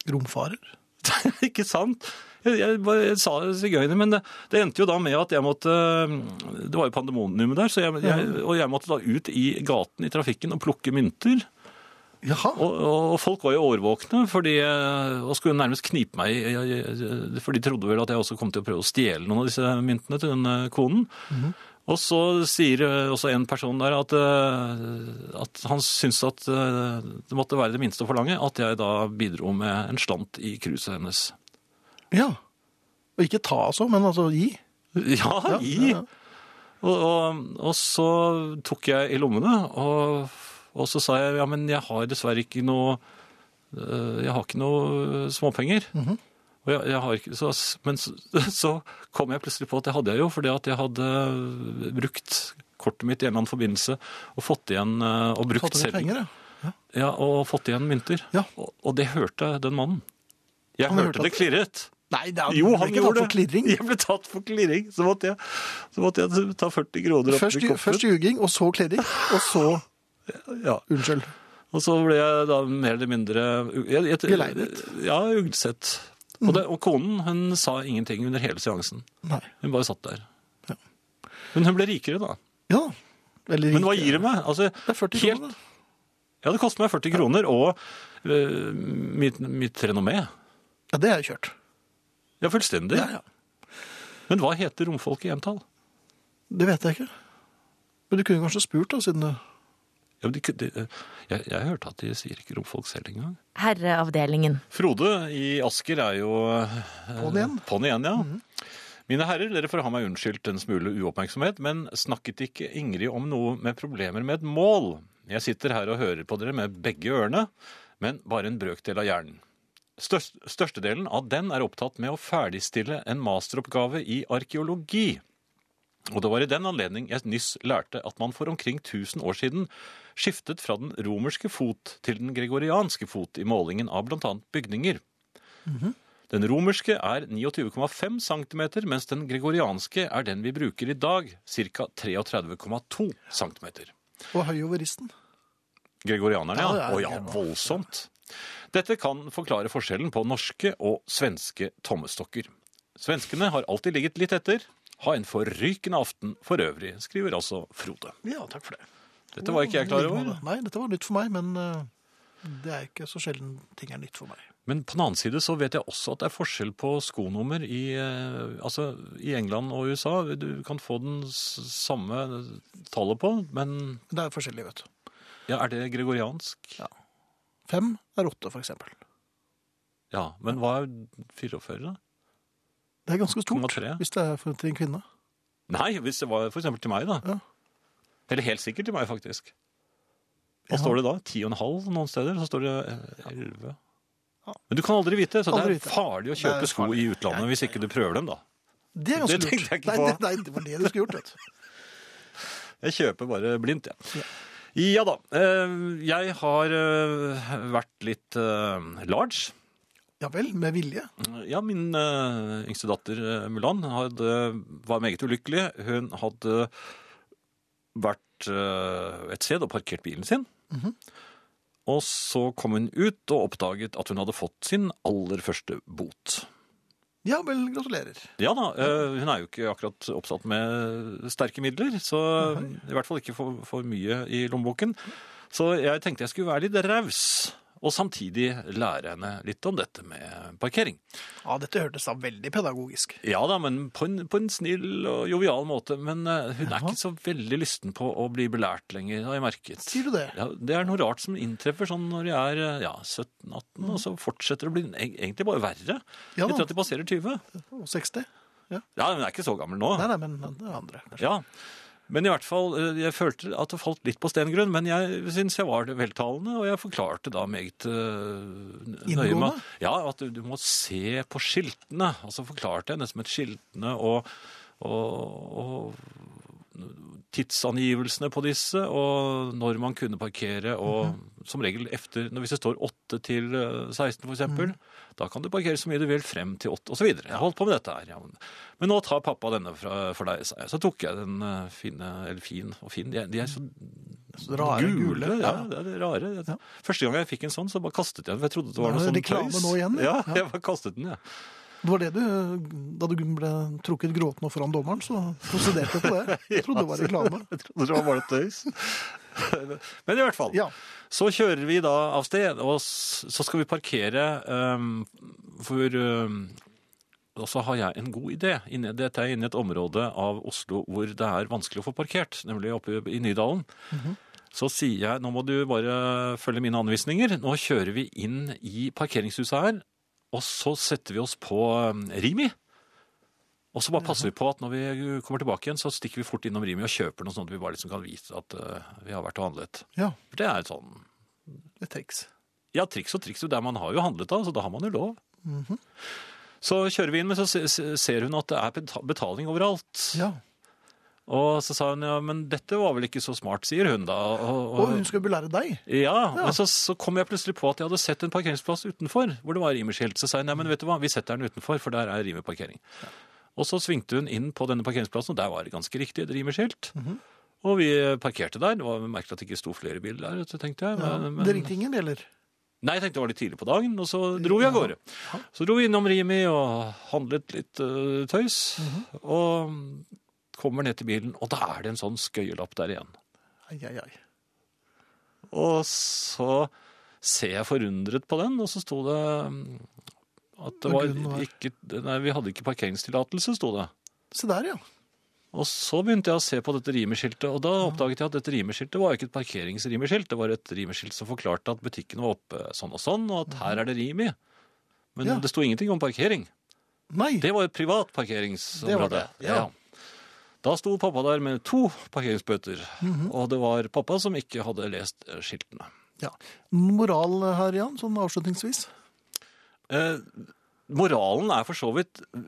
Speaker 1: Romfarer.
Speaker 2: ikke sant? Jeg, jeg, bare, jeg sa sigøyner, men det, det endte jo da med at jeg måtte Det var jo pandemonium der, så jeg, jeg, og jeg måtte da ut i gaten i trafikken og plukke mynter.
Speaker 1: Jaha.
Speaker 2: Og, og folk var jo årvåkne fordi, eh, og skulle nærmest knipe meg, i- i- i- for de trodde vel at jeg også kom til å prøve å stjele noen av disse myntene til denne konen. Og så sier eh, også en person der at, eh, at han syntes at eh, det måtte være det minste å forlange at jeg da bidro med en slant i kruset hennes.
Speaker 1: Ja. Og ikke ta, altså, men altså gi.
Speaker 2: Ja,
Speaker 1: Ja,
Speaker 2: i!
Speaker 1: ja, ja.
Speaker 2: Og, og, og så tok jeg i lommene, og, og så sa jeg ja, men jeg har dessverre ikke noe øh, Jeg har ikke noe småpenger.
Speaker 1: Mhm.
Speaker 2: Og jeg, jeg har ikke, så, men så, så kom jeg plutselig på at det hadde jeg jo, fordi at jeg hadde brukt kortet mitt i en eller annen forbindelse og fått igjen øh, og brukt
Speaker 1: Tatt over
Speaker 2: selv,
Speaker 1: penger, ja.
Speaker 2: ja, og fått igjen mynter.
Speaker 1: Ja.
Speaker 2: Og, og det hørte den mannen. Jeg
Speaker 1: Han
Speaker 2: hørte
Speaker 1: hørte
Speaker 2: det
Speaker 1: at-
Speaker 2: klirret.
Speaker 1: Nei, det er
Speaker 2: Jo,
Speaker 1: ble
Speaker 2: han
Speaker 1: ikke tatt
Speaker 2: gjorde
Speaker 1: for klirring.
Speaker 2: det. Jeg ble tatt for klirring. Så måtte jeg, så måtte jeg ta 40 kroner opp
Speaker 1: Først,
Speaker 2: i koppen.
Speaker 1: først juging, og så klirring, og så
Speaker 2: ja.
Speaker 1: Unnskyld.
Speaker 2: Og så ble jeg da mer eller mindre jeg, jeg,
Speaker 1: Geleidet.
Speaker 2: Ja, uglesett. Og, det, og konen hun sa ingenting under hele seansen.
Speaker 1: Nei.
Speaker 2: Hun bare satt der. Men hun ble rikere, da.
Speaker 1: Ja. Veldig
Speaker 2: Men hva
Speaker 1: riktig.
Speaker 2: gir det meg? Altså,
Speaker 1: Det er 40
Speaker 2: helt-
Speaker 1: kroner, da.
Speaker 2: Ja, det koster meg 40 kroner og øh, mitt, mitt renommé.
Speaker 1: Ja, det er jo kjørt.
Speaker 2: Ja, fullstendig.
Speaker 1: Ja, ja.
Speaker 2: Men hva heter romfolk i entall?
Speaker 1: Det vet jeg ikke. Men du kunne kanskje spurt, da, siden du
Speaker 2: Ja, men de, de, jeg, jeg hørte at de sier ikke romfolk selv engang.
Speaker 4: Herreavdelingen.
Speaker 2: Frode i Asker er jo eh,
Speaker 1: På'n igjen. Mhm.
Speaker 2: På'n igjen, ja. Mine herrer, dere får ha meg unnskyldt en smule uoppmerksomhet, men snakket ikke Ingrid om noe med problemer med et mål? Jeg sitter her og hører på dere med begge ørene, men bare en brøkdel av hjernen. Størst, størstedelen av den er opptatt med å ferdigstille en masteroppgave i arkeologi. Og det var i den anledning jeg nyss lærte at man for omkring 1000 år siden skiftet fra den romerske fot til den gregorianske fot i målingen av bl.a. bygninger. Den romerske er 29,5 cm, mens den gregorianske er den vi bruker i dag, ca. 33,2 cm.
Speaker 1: Og høy over risten.
Speaker 2: Gregorianerne,
Speaker 1: Ja, det
Speaker 2: ja.
Speaker 1: er
Speaker 2: Å ja,
Speaker 1: det.
Speaker 2: voldsomt. Dette kan forklare forskjellen på norske og svenske tommestokker. Svenskene har alltid ligget litt etter. Ha en forrykende aften for øvrig, skriver altså Frode.
Speaker 1: Ja, takk for det.
Speaker 2: Dette var ikke jeg klar over.
Speaker 1: Nei, dette var nytt for meg, men eh, det er ikke så sjelden ting er nytt for meg.
Speaker 2: Men på den annen side så vet jeg også at det er forskjell på skonummer i, eh, altså, i England og USA. Du kan få den s- samme tallet på, men
Speaker 1: Det er forskjellig, vet du.
Speaker 2: ja, er det gregoriansk? Ja.
Speaker 1: Fem er åtte, for eksempel.
Speaker 2: men hva er 44, da?
Speaker 1: Det er ganske stort
Speaker 2: 0,3.
Speaker 1: hvis det er for, til en kvinne.
Speaker 2: Nei, hvis det var for eksempel til meg, da.
Speaker 1: Ja.
Speaker 2: Eller helt sikkert til meg, faktisk. Hva står det da? 10,5 noen steder? Så står det eh, 11.
Speaker 1: Ja.
Speaker 2: Men du kan aldri vite, så
Speaker 1: Aldri
Speaker 2: det
Speaker 1: vite.
Speaker 2: er farlig å
Speaker 1: Det er
Speaker 2: kjøpe sko i utlandet hvis ikke du prøver dem, da.
Speaker 1: Det er ganske
Speaker 2: Det tenkte jeg ikke
Speaker 1: lurt.
Speaker 2: på.
Speaker 1: Nei, det, nei, det var det du skulle gjort, altså. vet du.
Speaker 2: Jeg kjøper bare blindt, jeg. Ja. da. eh, Jeg har eh, vært litt eh, large.
Speaker 1: Ja vel, med vilje.
Speaker 2: Ja, min eh, yngste datter eh, Mulan hadde, var meget ulykkelig. Hun hadde vært eh, et sted og parkert bilen sin. Og så kom hun ut og oppdaget at hun hadde fått sin aller første bot.
Speaker 1: Ja vel, gratulerer.
Speaker 2: Ja da, eh, hun er jo ikke akkurat oppsatt med sterke midler, så i hvert fall ikke for, for mye i lommeboken. Så jeg tenkte jeg skulle være litt raus, og samtidig lære henne litt om dette med parkering.
Speaker 1: Ja, dette hørtes da veldig pedagogisk.
Speaker 2: Ja da, men på en, på en snill og jovial måte, men eh, hun er ikke så veldig lysten på å bli belært lenger, har jeg merket.
Speaker 1: Sier du det?
Speaker 2: Ja, det er noe rart som inntreffer sånn når de er eh, ja, 17-18, og så fortsetter det å bli eg- egentlig bare verre
Speaker 1: Mm. Ja da.
Speaker 2: etter at de passerer 20.
Speaker 1: Og 60?
Speaker 2: Ja, hun er ikke så gammel nå.
Speaker 1: Nei, nei, men det er andre. kanskje.
Speaker 2: Ja, men i hvert fall, eh, jeg følte at det falt litt på stengrunn, men jeg synes jeg var veltalende, og jeg forklarte da meget eh, nøye
Speaker 1: Inngående?
Speaker 2: med ja, at du, du må se på skiltene, og så forklarte jeg nesten med skiltene og, og, og tidsangivelsene på disse, og når man kunne parkere, og som regel efter, når- hvis det står 8 til eh, 16 for eksempel, da kan du parkere så mye du vil frem til 8, og så videre. Jeg har holdt på med dette her. Ja. Men- Men nå tar pappa denne fra, for deg, sa jeg. Så tok jeg den eh, fine, eller fin og fin, de, er- de er så
Speaker 1: Så rare
Speaker 2: gule.
Speaker 1: gule,
Speaker 2: ja.
Speaker 1: ja.
Speaker 2: det er det rare. Første gang jeg fikk en sånn, så bare kastet jeg den, for jeg trodde det var
Speaker 1: Nå
Speaker 2: noe
Speaker 1: er
Speaker 2: sånn
Speaker 1: det reklame nå igjen,
Speaker 2: Ja,
Speaker 1: ja.
Speaker 2: jeg bare kastet den, ja.
Speaker 1: Det var det du, da du ble trukket gråtende foran dommeren, så prosederte du på det. Jeg trodde det var reklame.
Speaker 2: Jeg trodde det var bare tøys. Men i hvert fall.
Speaker 1: Ja.
Speaker 2: Så kjører vi da av sted, og s- så skal vi parkere ehm, for ehm, Og så har jeg en god idé. Inne, dette er inne i et område av Oslo hvor det er vanskelig å få parkert, nemlig oppe i- i Nydalen. Så sier jeg nå må du bare følge mine anvisninger. Nå kjører vi inn i parkeringshuset her, og så setter vi oss på ehm, Rimi. Og så bare passer vi på at når vi kommer tilbake igjen, så stikker vi fort innom Rimi og kjøper noe sånn at vi bare liksom kan vise at eh, vi har vært og handlet.
Speaker 1: Ja,
Speaker 2: For det er et sånn
Speaker 1: et triks.
Speaker 2: Ja, triks og triks, og der man har jo handlet da, så da har man jo lov.
Speaker 1: Mhm.
Speaker 2: Så kjører vi inn, men så se- se- ser hun at det er beta- betaling overalt.
Speaker 1: Ja.
Speaker 2: Og så sa hun ja, men dette var vel ikke så smart, sier hun da. Og,
Speaker 1: Og hun skulle belære deg.
Speaker 2: ja, men så, så kom jeg plutselig på at jeg hadde sett en parkeringsplass utenfor, hvor det var Rimi-skilt. Så sa jeg nei, men vet du hva, vi setter den utenfor, for der er Rimi-parkering. Og så svingte hun inn på denne parkeringsplassen, og der var det ganske riktig et Rimi-skilt.
Speaker 1: Mhm.
Speaker 2: Og vi parkerte der. Det var merket at det ikke sto flere biler der, så tenkte jeg.
Speaker 1: Ja.
Speaker 2: Men, men...
Speaker 1: Det ringte ingen bjeller.
Speaker 2: Nei, jeg tenkte det var litt tidlig på dagen, og så dro vi av gårde. Så dro vi innom Rimi og handlet litt eh, tøys, og kommer ned til bilen, og da er det en sånn skøyelapp der igjen.
Speaker 1: Ai, ai, ai.
Speaker 2: Og så ser jeg forundret på den, og så sto det mm, at det
Speaker 1: Og
Speaker 2: var
Speaker 1: grunnen var?
Speaker 2: ikke, nei, vi hadde ikke parkeringstillatelse, sto det.
Speaker 1: Se der, ja.
Speaker 2: Og så begynte jeg å se på dette rimeskiltet, og da oppdaget jeg at dette rimeskilt var ikke et parkeringsrimeskilt, det var et rimeskilt som forklarte at butikken var oppe sånn og sånn, og at her er det Rimi. Men
Speaker 1: Ja.
Speaker 2: det sto ingenting om parkering.
Speaker 1: Nei.
Speaker 2: Det var et privat
Speaker 1: Det
Speaker 2: parkeringsområde.
Speaker 1: var det, ja.
Speaker 2: Da sto pappa der med to parkeringsbøter,
Speaker 1: Mhm.
Speaker 2: og det var pappa som ikke hadde lest eh, skiltene.
Speaker 1: Ja. Moral her, Jan, sånn avslutningsvis.
Speaker 2: Eh, moralen er for så vidt eh,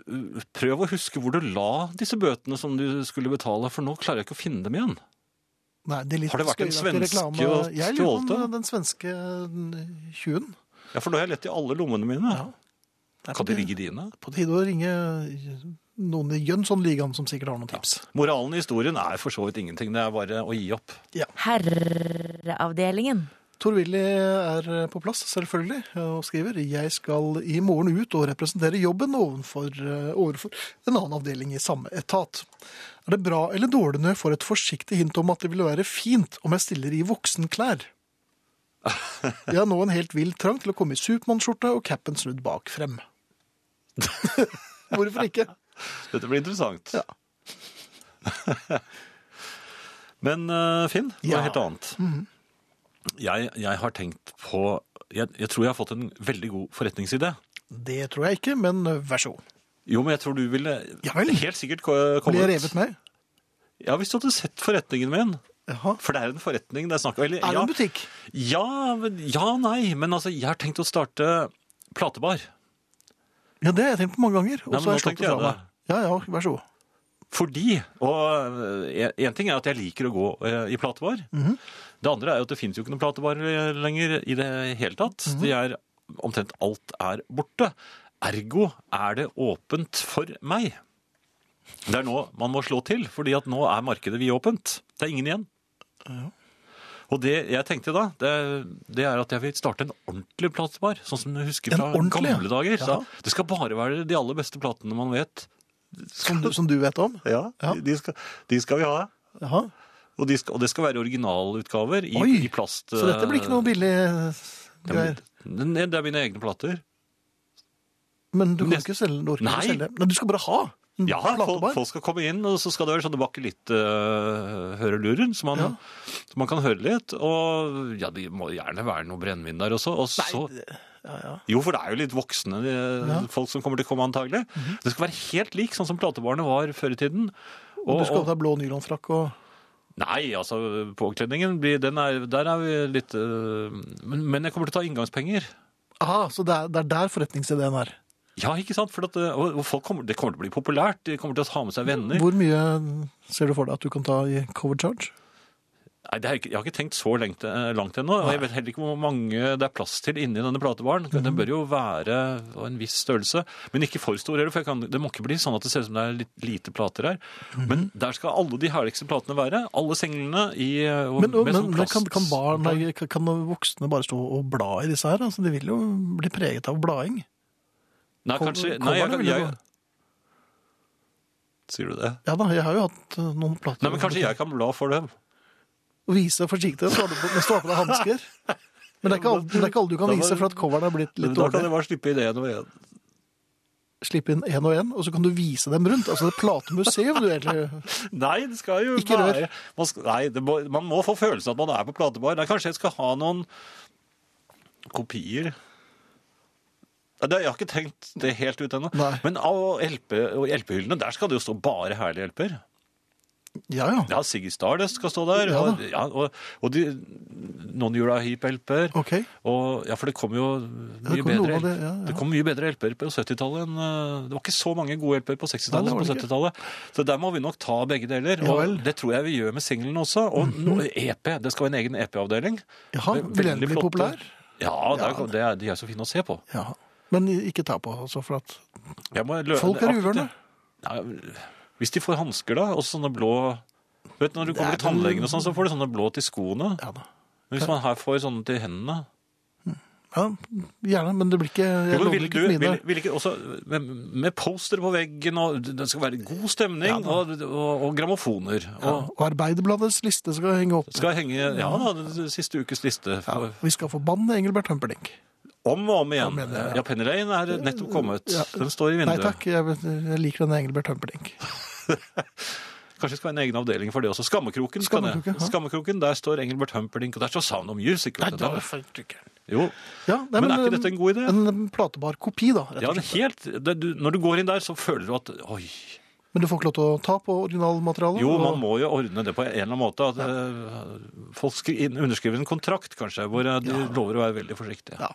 Speaker 2: prøv å huske hvor du la disse bøtene som du skulle betale, for nå klarer jeg ikke å finne dem igjen.
Speaker 1: Nei, det er litt
Speaker 2: Har det vært en
Speaker 1: skøyeraktig
Speaker 2: svenske
Speaker 1: reklame.
Speaker 2: og
Speaker 1: Jeg lurer på
Speaker 2: stjålte?
Speaker 1: om den svenske eh, tjuven.
Speaker 2: Ja, For nå har jeg lett i alle lommene mine.
Speaker 1: Det er
Speaker 2: Kan
Speaker 1: på tide-
Speaker 2: de ligge i dine?
Speaker 1: På tide å ringe noen i Jønssonligaen som sikkert har noen tips.
Speaker 2: Moralen i historien er for så vidt ingenting. Det er bare å gi opp.
Speaker 4: Herreavdelingen.
Speaker 1: Tor-Willy er eh, på plass, selvfølgelig, og skriver «Jeg skal i morgen ut og representere jobben ovenfor, overfor en annen avdeling i samme etat. Er det bra eller dårlig når jeg får et forsiktig hint om at det vil være fint om jeg stiller i voksenklær? Jeg har nå en helt vill trang til å komme i Supermann-skjorte og cappen snudd bak frem. Hvorfor ikke?
Speaker 2: Dette blir interessant. Men eh, Finn, noe
Speaker 1: Ja. Mm.
Speaker 2: helt annet. jeg, jeg har tenkt på jeg, jeg tror jeg har fått en veldig god forretningsidé.
Speaker 1: Det tror jeg ikke, men eh, vær så god.
Speaker 2: Jo, men jeg tror du ville
Speaker 1: Ja vel.
Speaker 2: helt sikkert ko-
Speaker 1: Blir
Speaker 2: kommet
Speaker 1: jeg revet med?
Speaker 2: Ja, hvis du hadde sett forretningen min.
Speaker 1: Jaha.
Speaker 2: For det er en forretning det er snakk om. Eller,
Speaker 1: Er det
Speaker 2: ja,
Speaker 1: en butikk?
Speaker 2: Ja, men- ja, nei. Men altså, jeg har tenkt å starte platebar.
Speaker 1: Ja, det har jeg tenkt på mange ganger.
Speaker 2: Nei,
Speaker 1: Og
Speaker 2: men
Speaker 1: så har
Speaker 2: nå
Speaker 1: jeg slått
Speaker 2: tenkte
Speaker 1: det fra
Speaker 2: jeg
Speaker 1: meg. Ja, ja, vær så god.
Speaker 2: Fordi Og én ting er at jeg liker å gå eh, i platebar.
Speaker 1: Mhm.
Speaker 2: Det andre er jo at det fins jo ikke noen platebarer lenger i det hele tatt.
Speaker 1: Mhm.
Speaker 2: De er Omtrent alt er borte. Ergo er det åpent for meg. Det er nå man må slå til, fordi at nå er markedet vidåpent. Det er ingen igjen. Og det jeg tenkte da, det, det er at jeg vil starte en ordentlig platebar. Sånn som du husker
Speaker 1: En
Speaker 2: fra
Speaker 1: ordentlig, ja.
Speaker 2: gamle dager. Så
Speaker 1: Ja.
Speaker 2: Det skal bare være de aller beste platene man vet.
Speaker 1: Som du, som du vet om?
Speaker 2: Ja,
Speaker 1: Ja.
Speaker 2: De, skal, de skal vi ha.
Speaker 1: Jaha.
Speaker 2: Og, de skal, og det skal være originalutgaver i,
Speaker 1: Oi,
Speaker 2: i plast.
Speaker 1: Så dette blir ikke
Speaker 2: eh,
Speaker 1: noe billig eh,
Speaker 2: Det er,
Speaker 1: greier.
Speaker 2: det det er mine egne plater.
Speaker 1: Men du kan
Speaker 2: nest-
Speaker 1: ikke selge du orker ikke
Speaker 2: Nei.
Speaker 1: selge. Nei, du skal bare ha en
Speaker 2: Ja, folk,
Speaker 1: platebar.
Speaker 2: folk skal komme inn, og så skal det være sånn sånne bakelitt-hørelurer, så, man-
Speaker 1: Ja.
Speaker 2: så man kan høre litt. Og ja, det må gjerne være noe brennevin der også. Og så,
Speaker 1: Ja, ja.
Speaker 2: jo, for det er jo litt voksne eh,
Speaker 1: Ja. Mhm.
Speaker 2: folk som kommer til å komme, antagelig. Det skal være helt lik, sånn som platebarene var før i tiden.
Speaker 1: Og du skal ha blå nylonfrakk og
Speaker 2: Nei, altså påkledningen blir, den er, Der er vi litt øh, men, men jeg kommer til å ta inngangspenger.
Speaker 1: Aha, så det er, det er der forretningsideen er.
Speaker 2: Ja, ikke sant? For at, øh, og og folk kommer, det kommer til å bli populært. De kommer til å ha med seg venner.
Speaker 1: Hvor mye ser du for deg at du kan ta i cover charge?
Speaker 2: Nei, det er, ikke- jeg har ikke tenkt så lengt, eh, langt ennå. Og jeg vet heller ikke hvor mange det er plass til inni denne platebaren.
Speaker 1: Mhm.
Speaker 2: Den bør jo være av en viss størrelse, men ikke for stor heller. For jeg kan, det må ikke bli sånn at det ser ut som det er litt lite plater her.
Speaker 1: Mhm.
Speaker 2: Men der skal alle de herligste platene være. Alle senglene i eh, og
Speaker 1: Men,
Speaker 2: med
Speaker 1: men,
Speaker 2: sånn
Speaker 1: men kan, kan,
Speaker 2: plast-
Speaker 1: barn, nei, kan- kan voksne bare stå og bla i disse her? Altså, de vil jo bli preget av blading.
Speaker 2: Nei,
Speaker 1: Kom-
Speaker 2: kanskje
Speaker 1: kommer
Speaker 2: Nei, jeg,
Speaker 1: det
Speaker 2: jeg,
Speaker 1: vel
Speaker 2: jeg
Speaker 1: noe?
Speaker 2: Sier du det?
Speaker 1: Ja da, jeg har jo hatt eh, noen plater.
Speaker 2: Nei, men kanskje jeg kan bla for dem.
Speaker 1: Og vise deg forsiktig så hadde du på- mens du har på deg hansker. Men det er ikke alle, det er ikke alle du kan
Speaker 2: Da var-
Speaker 1: vise for at coveren er blitt litt
Speaker 2: da
Speaker 1: dårlig.
Speaker 2: kan jeg bare slippe ideen over igjen.
Speaker 1: slippe inn én og én, og så kan du vise dem rundt. Altså det er platemuseum du egentlig
Speaker 2: Nei, det skal jo
Speaker 1: Ikke rør.
Speaker 2: være man, skal, nei, det må, man må få følelsen at man er på platebar. Nei, kanskje jeg skal ha noen kopier. Nei, det- Jeg har ikke tenkt det helt ut ennå.
Speaker 1: Nei.
Speaker 2: Men av LP, og hjelpehyllene, der skal det jo stå bare herlige hjelper.
Speaker 1: Ja ja.
Speaker 2: Ja, Siggy Stardust skal stå der.
Speaker 1: Ja
Speaker 2: og, ja, og, og de, noen Jula Heap-hjelper.
Speaker 1: Ok.
Speaker 2: Og, ja, for det kom jo mye
Speaker 1: kom noe
Speaker 2: bedre,
Speaker 1: av det,
Speaker 2: det,
Speaker 1: ja, ja.
Speaker 2: det kom mye bedre LP-er på 70-tallet enn eh, Det var ikke så mange gode LP-er på
Speaker 1: Nei,
Speaker 2: 60-tallet
Speaker 1: det var
Speaker 2: som på
Speaker 1: det ikke.
Speaker 2: 70-tallet. Så der må vi nok ta begge deler.
Speaker 1: Ja
Speaker 2: Og
Speaker 1: vel. Mhm.
Speaker 2: det tror jeg vi gjør med singelen også. Og no- EP. Det skal være en egen EP-avdeling.
Speaker 1: Jaha,
Speaker 2: Ve-
Speaker 1: vil den
Speaker 2: veldig
Speaker 1: bli
Speaker 2: flotte-
Speaker 1: populær?
Speaker 2: Ja, det er, det er, de er så fine å se på.
Speaker 1: ja. Men ikke ta på, altså, for at
Speaker 2: Jeg må lø-
Speaker 1: Folk er
Speaker 2: akte-
Speaker 1: uvørne.
Speaker 2: Ja, hvis de får hansker, da, og sånne blå Du vet, Når du kommer
Speaker 1: er
Speaker 2: til tannlegen,
Speaker 1: vel-
Speaker 2: og sånn, så får du sånne blå til skoene.
Speaker 1: Ja da.
Speaker 2: Men hvis man her får sånne til hendene
Speaker 1: Ja, gjerne, men det blir ikke Jeg
Speaker 2: Jo, men
Speaker 1: lover
Speaker 2: vil,
Speaker 1: ikke
Speaker 2: du,
Speaker 1: mine.
Speaker 2: vil, vil ikke også med, med poster på veggen, og det skal være god stemning, og, og, og grammofoner.
Speaker 1: Ja,
Speaker 2: Og
Speaker 1: og Arbeiderbladets liste skal henge opp.
Speaker 2: skal henge ja, da, den siste ukes liste. For,
Speaker 1: Vi skal forbanne Engelbert Humperdinck.
Speaker 2: Om og om igjen.
Speaker 1: Om igjen, ja.
Speaker 2: Ja, Penny Lane er nettopp kommet.
Speaker 1: Ja.
Speaker 2: Den står i
Speaker 1: Nei
Speaker 2: vinduet.
Speaker 1: takk, jeg, jeg liker denne Engelbert Humperdinck.
Speaker 2: Kanskje det skal være en egen avdeling for det også. Skammekroken. skal det.
Speaker 1: Skammekroken, ja.
Speaker 2: Skammekroken, Der står Engelbert Humperdinck, og der står Sound of Music.
Speaker 1: Nei,
Speaker 2: Vet du.
Speaker 1: det
Speaker 2: da.
Speaker 1: er feil trykk.
Speaker 2: Jo.
Speaker 1: Ja, nei,
Speaker 2: Men er ikke dette en god idé?
Speaker 1: En platebar kopi, da. Rett
Speaker 2: Ja,
Speaker 1: og
Speaker 2: det
Speaker 1: slett.
Speaker 2: er helt, det, du, når du går inn der, så føler du at Oi.
Speaker 1: Men du får ikke lov til å ta på originalmaterialet?
Speaker 2: Jo,
Speaker 1: Mm.
Speaker 2: man
Speaker 1: og-
Speaker 2: må jo ordne det på en eller annen måte. At eh, folk skri- inn- underskriver en kontrakt, kanskje, hvor eh, de lover å være veldig forsiktige.
Speaker 1: Ja.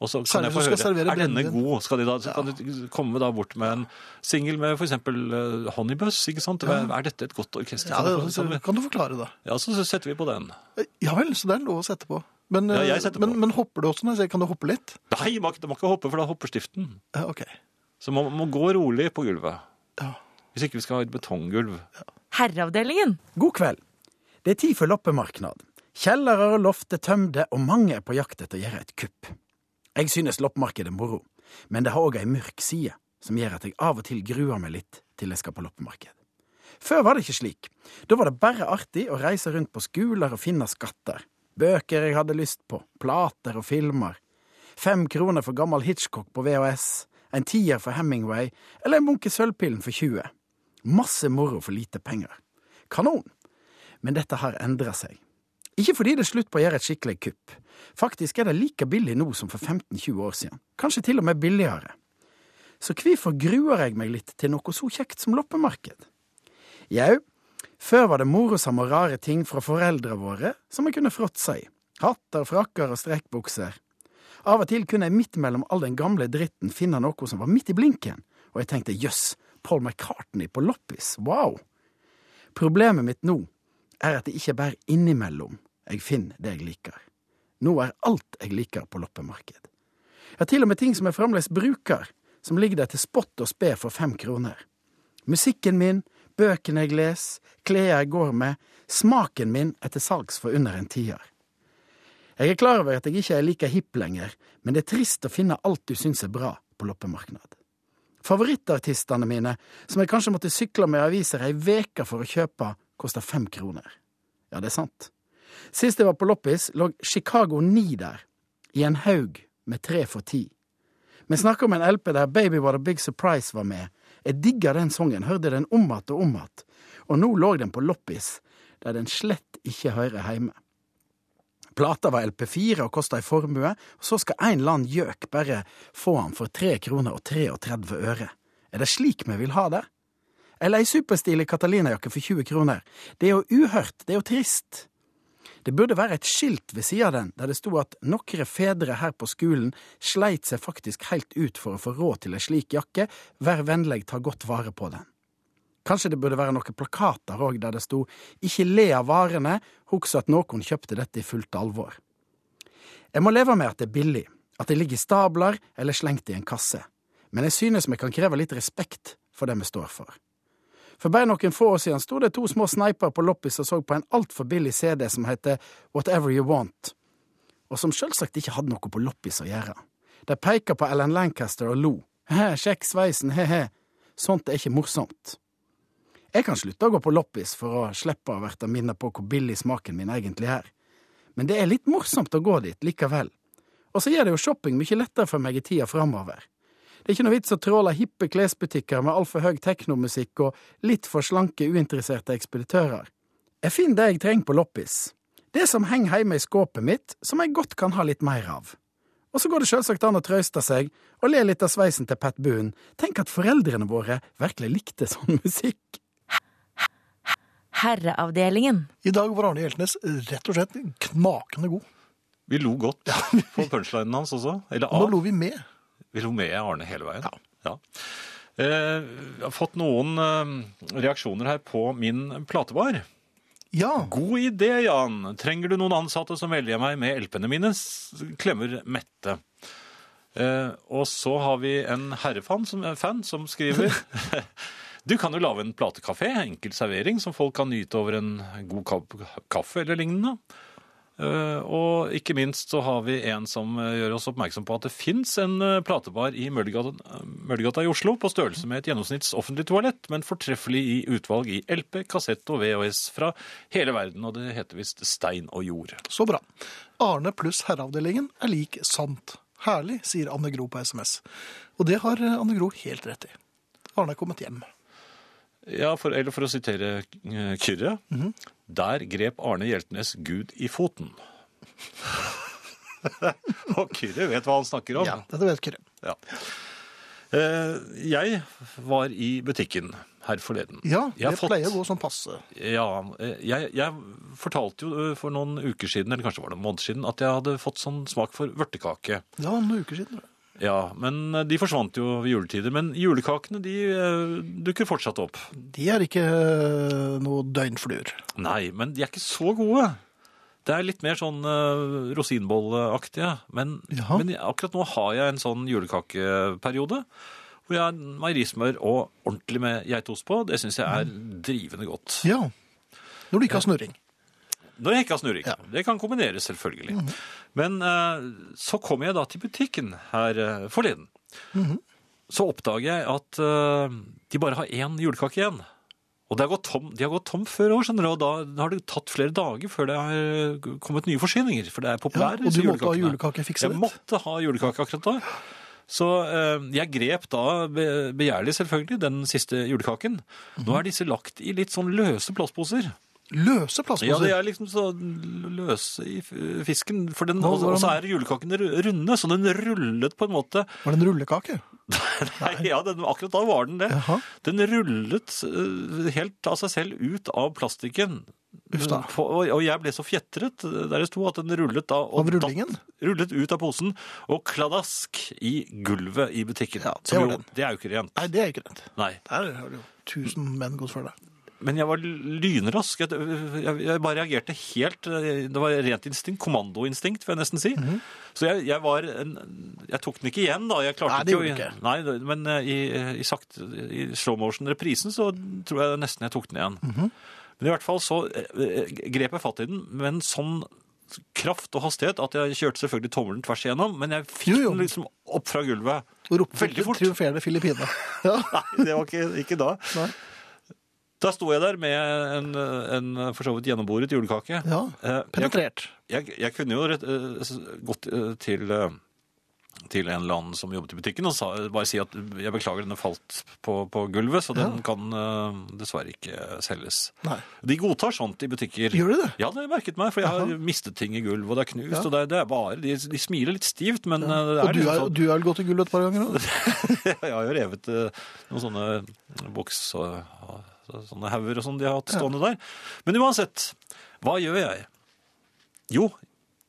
Speaker 2: Og så kan
Speaker 1: Særlig
Speaker 2: jeg få
Speaker 1: hvis du skal
Speaker 2: høre,
Speaker 1: servere
Speaker 2: er denne
Speaker 1: brennevin.
Speaker 2: god? Skal de da så kan de komme da bort med en singel med f.eks. Honeybuss? ikke sant? Er dette et godt orkester?
Speaker 1: Ja, det,
Speaker 2: Sånn-
Speaker 1: så, kan du forklare det?
Speaker 2: ja, så setter vi på den.
Speaker 1: Eh, Ja vel, så det er lov å sette på. Men,
Speaker 2: Ja, jeg
Speaker 1: eh,
Speaker 2: setter
Speaker 1: men,
Speaker 2: på.
Speaker 1: men hopper du også? Når jeg sier, kan du hoppe litt?
Speaker 2: Nei, man, man kan ikke hoppe, for da hopper stiften.
Speaker 1: Eh, Ok.
Speaker 2: Så man må gå rolig på gulvet.
Speaker 1: Ja.
Speaker 2: Hvis ikke vi skal ha et betonggulv.
Speaker 4: Herreavdelingen.
Speaker 5: God kveld. Det er tid for loppemarknad. Kjellere og loft er tømde, og mange er på jakt etter å gjøre et kupp. Jeg synes loppemarked er moro, men det har òg ei mørk side som gjør at jeg av og til gruer meg litt til jeg skal på loppemarked. Før var det ikke slik. Da var det bare artig å reise rundt på skoler og finne skatter. Bøker jeg hadde lyst på, plater og filmer. Fem kroner for gammel Hitchcock på VHS, en tier for Hemingway, eller en bunke sølvpillen for 20. Masse moro for lite penger. Kanon! Men dette har endra seg. Ikke fordi det er slutt på å gjøre et skikkelig kupp. Faktisk er det like billig nå som for 15-20 år siden. Kanskje til og med billigere. Så hvorfor gruer jeg meg litt til noe så kjekt som loppemarked? Jau, før var det morosamme og rare ting fra foreldra våre som jeg kunne fråtse i. Hatter, frakker og strekkbukser. Av og til kunne jeg midt mellom all den gamle dritten finne noe som var midt i blinken, og jeg tenkte jøss, Paul McCartney på loppis, wow! Problemet mitt nå er at det ikke bare er innimellom jeg finner det jeg liker. Nå er alt jeg liker på loppemarked. Ja, til og med ting som jeg fremdeles bruker, som ligger der til spott og spe for fem kroner. Musikken min, bøkene jeg leser, klær jeg går med, smaken min er til salgs for under en tier. Jeg er klar over at jeg ikke er like hipp lenger, men det er trist å finne alt du syns er bra på loppemarked. Favorittartistene mine, som jeg kanskje måtte sykle med aviser ei veke for å kjøpe, koster fem kroner. Ja, det er sant. Sist jeg var på loppis, lå Chicago 9 der, i en haug med tre for ti. Vi snakker om en LP der Baby What A Big Surprise var med. Jeg digga den sangen, hørte den om att og om att, og nå lå den på loppis, der den slett ikke hører heime. Plata var LP4 og kosta ei formue, og så skal en eller annen gjøk bare få han for 3 kroner og 33 øre. Er det slik vi vil ha det? Eller ei superstilig Catalina-jakke for 20 kroner. Det er jo uhørt, det er jo trist. Det burde være et skilt ved sida av den, der det sto at nokre fedre her på skolen sleit seg faktisk helt ut for å få råd til ei slik jakke, vær vennleg ta godt vare på den. Kanskje det burde være noen plakater òg der det sto Ikke le av varene, husk at noen kjøpte dette i fullt alvor. Jeg må leve med at det er billig, at det ligger i stabler eller slengt i en kasse, men jeg synes vi kan kreve litt respekt for det vi står for. For bare noen få år siden sto det to små sneipere på loppis og så på en altfor billig CD som heter Whatever You Want, og som selvsagt ikke hadde noe på loppis å gjøre. De peker på Alan Lancaster og lo. He, sjekk sveisen, he-he. Sånt er ikke morsomt. Jeg kan slutte å gå på loppis for å slippe å bli minnet på hvor billig smaken min egentlig er, men det er litt morsomt å gå dit likevel. Og så gjør det jo shopping mye lettere for meg i tida framover. Det er ikke noe vits å tråle hippe klesbutikker med altfor høy teknomusikk og litt for slanke, uinteresserte ekspeditører. Jeg finner det jeg trenger på loppis. Det som henger hjemme i skåpet mitt, som jeg godt kan ha litt mer av. Og så går det selvsagt an å trøste seg og le litt av sveisen til Pat Boone. Tenk at foreldrene våre virkelig likte sånn musikk.
Speaker 4: Herreavdelingen.
Speaker 1: I dag var Arne Hjeltnes rett og slett knakende god.
Speaker 2: Vi lo godt på punchlinen hans også. Eller
Speaker 1: Nå
Speaker 2: av.
Speaker 1: lo vi med.
Speaker 2: Vi lo med Arne hele veien. Ja. Eh, jeg har fått noen eh, reaksjoner her på min platebar.
Speaker 1: Ja.
Speaker 2: God idé, Jan. Trenger du noen ansatte som velger meg med LP-ene mine? S- Klemmer Mette. Eh, og så har vi en herrefan som, eh, fan som skriver Du kan jo lage en platekafé, enkel servering som folk kan nyte over en god ka- kaffe eller lignende. Eh, og ikke minst så har vi en som eh, gjør oss oppmerksom på at det fins en eh, platebar i Møllergata Møllergata i Oslo på størrelse med et gjennomsnitts offentlig toalett, men fortreffelig i utvalg i LP, kassett og VHS fra hele verden, og det heter visst Stein og jord.
Speaker 1: Så bra. Arne pluss herreavdelingen er lik sant. Herlig, sier eh, Anne Gro på SMS. Og det har Anne Gro helt rett i. Arne er kommet hjem.
Speaker 2: Ja, for, eller for å sitere eh, Kyrre. Der grep Arne Hjeltnes Gud i foten. Og Kyrre vet hva han snakker om.
Speaker 1: Ja, dette vet Kyrre.
Speaker 2: Ja. Eh, Jeg var i butikken her forleden.
Speaker 1: Ja,
Speaker 2: Jeg har
Speaker 1: det
Speaker 2: fått-
Speaker 1: pleier å gå sånn passe.
Speaker 2: Ja, eh, jeg, jeg fortalte jo eh, for noen uker siden, eller kanskje var det en måned siden, at jeg hadde fått sånn smak for vørtekake.
Speaker 1: Det var noen uker siden.
Speaker 2: Ja, men eh, de forsvant jo ved juletider. Men julekakene, de eh, dukker fortsatt opp.
Speaker 1: De er ikke eh, noe døgnfluer.
Speaker 2: Nei, men de er ikke så gode. Det er litt mer sånn uh, rosinbolleaktige. Men,
Speaker 1: Jaha.
Speaker 2: men akkurat nå har jeg en sånn julekakeperiode. Hvor jeg har meierismør og ordentlig med geitost på. Det syns jeg er drivende godt.
Speaker 1: Ja. Når du ikke har snurring.
Speaker 2: Når jeg ikke har snurring. Det kan kombineres, selvfølgelig.
Speaker 1: Mhm.
Speaker 2: Men eh, så kom jeg da til butikken her eh, forleden.
Speaker 1: Mhm.
Speaker 2: Så oppdager jeg at eh, de bare har én julekake igjen. Og det har gått tom, de har gått tom før år, skjønner du. Og da har det tatt flere dager før det har eh, kommet nye forsyninger. For det er
Speaker 1: Ja,
Speaker 2: populære
Speaker 1: og du
Speaker 2: disse
Speaker 1: måtte ha
Speaker 2: julekakene.
Speaker 1: julekakefikset
Speaker 2: Jeg
Speaker 1: ditt.
Speaker 2: måtte ha julekake akkurat da. Så eh, jeg grep da be- begjærlig, selvfølgelig, den siste julekaken.
Speaker 1: Mhm.
Speaker 2: Nå er disse lagt i litt sånn løse plastposer.
Speaker 1: Løse
Speaker 2: Ja, det
Speaker 1: plastposer.
Speaker 2: er liksom så løse i f- fisken, for den,
Speaker 1: Nå
Speaker 2: og
Speaker 1: var den-
Speaker 2: og så er julekaken ru- runde, så den rullet på en måte.
Speaker 1: Var det en rullekake?
Speaker 2: Nei, ja, den, akkurat da var den det.
Speaker 1: Jaha.
Speaker 2: Den rullet eh, helt av seg selv ut av plastikken.
Speaker 1: Uff da.
Speaker 2: På- Og, og jeg ble så fjetret eh, der det sto at den rullet da. og
Speaker 1: Av rullingen?
Speaker 2: datt- rullet ut av posen og kladask i gulvet i butikken.
Speaker 1: Ja, det
Speaker 2: Som
Speaker 1: var
Speaker 2: jo,
Speaker 1: den.
Speaker 2: det er jo ikke rent.
Speaker 1: Nei, det er ikke rent.
Speaker 2: Nei.
Speaker 1: Der har du jo tusen menn gått for deg.
Speaker 2: Men jeg var lynrask. Jeg, jeg, jeg bare reagerte helt eh, Det var rent instinkt. Kommandoinstinkt, vil jeg nesten si.
Speaker 1: Mhm.
Speaker 2: Så jeg, jeg var en, Jeg tok den ikke igjen, da. Jeg klarte
Speaker 1: Nei, det
Speaker 2: ikke, å-
Speaker 1: gjorde du ikke.
Speaker 2: Nei, det- Men eh, i, i, sakte, i slow motion-reprisen så tror jeg nesten jeg tok den igjen.
Speaker 1: Mhm.
Speaker 2: Men i hvert fall så eh, grep jeg fatt i den med en sånn kraft og hastighet at jeg kjørte selvfølgelig tommelen tvers igjennom, men jeg fikk
Speaker 1: Jo, jo.
Speaker 2: den liksom opp fra gulvet.
Speaker 1: Og ropte
Speaker 2: Veldig fort.
Speaker 1: triumferende Filippine. Ja.
Speaker 2: Nei, det var ikke, ikke da.
Speaker 1: Nei.
Speaker 2: Da sto jeg der med en, en for så vidt gjennomboret julekake.
Speaker 1: ja.
Speaker 2: Eh, Jeg,
Speaker 1: Penetrert.
Speaker 2: jeg, jeg kunne jo rett, eh, s- gått eh, til, eh, til en eller annen som jobbet i butikken og sa, bare si at jeg beklager, den falt på, på gulvet, så den kan eh, dessverre ikke selges.
Speaker 1: Nei.
Speaker 2: De godtar sånt i butikker.
Speaker 1: Gjør de det?
Speaker 2: Ja, det har jeg merket meg, for jeg har mistet ting i gulvet, og det er knust, og det er, det er bare, de, de smiler litt stivt, men eh, det er
Speaker 1: Og du
Speaker 2: liksom
Speaker 1: har,
Speaker 2: sånn-
Speaker 1: du har vel gått i gull et par ganger nå?
Speaker 2: jeg har jo revet eh, noen sånne boks og sånne hauger og sånn de har hatt stående der. Men uansett, hva gjør jeg? Jo,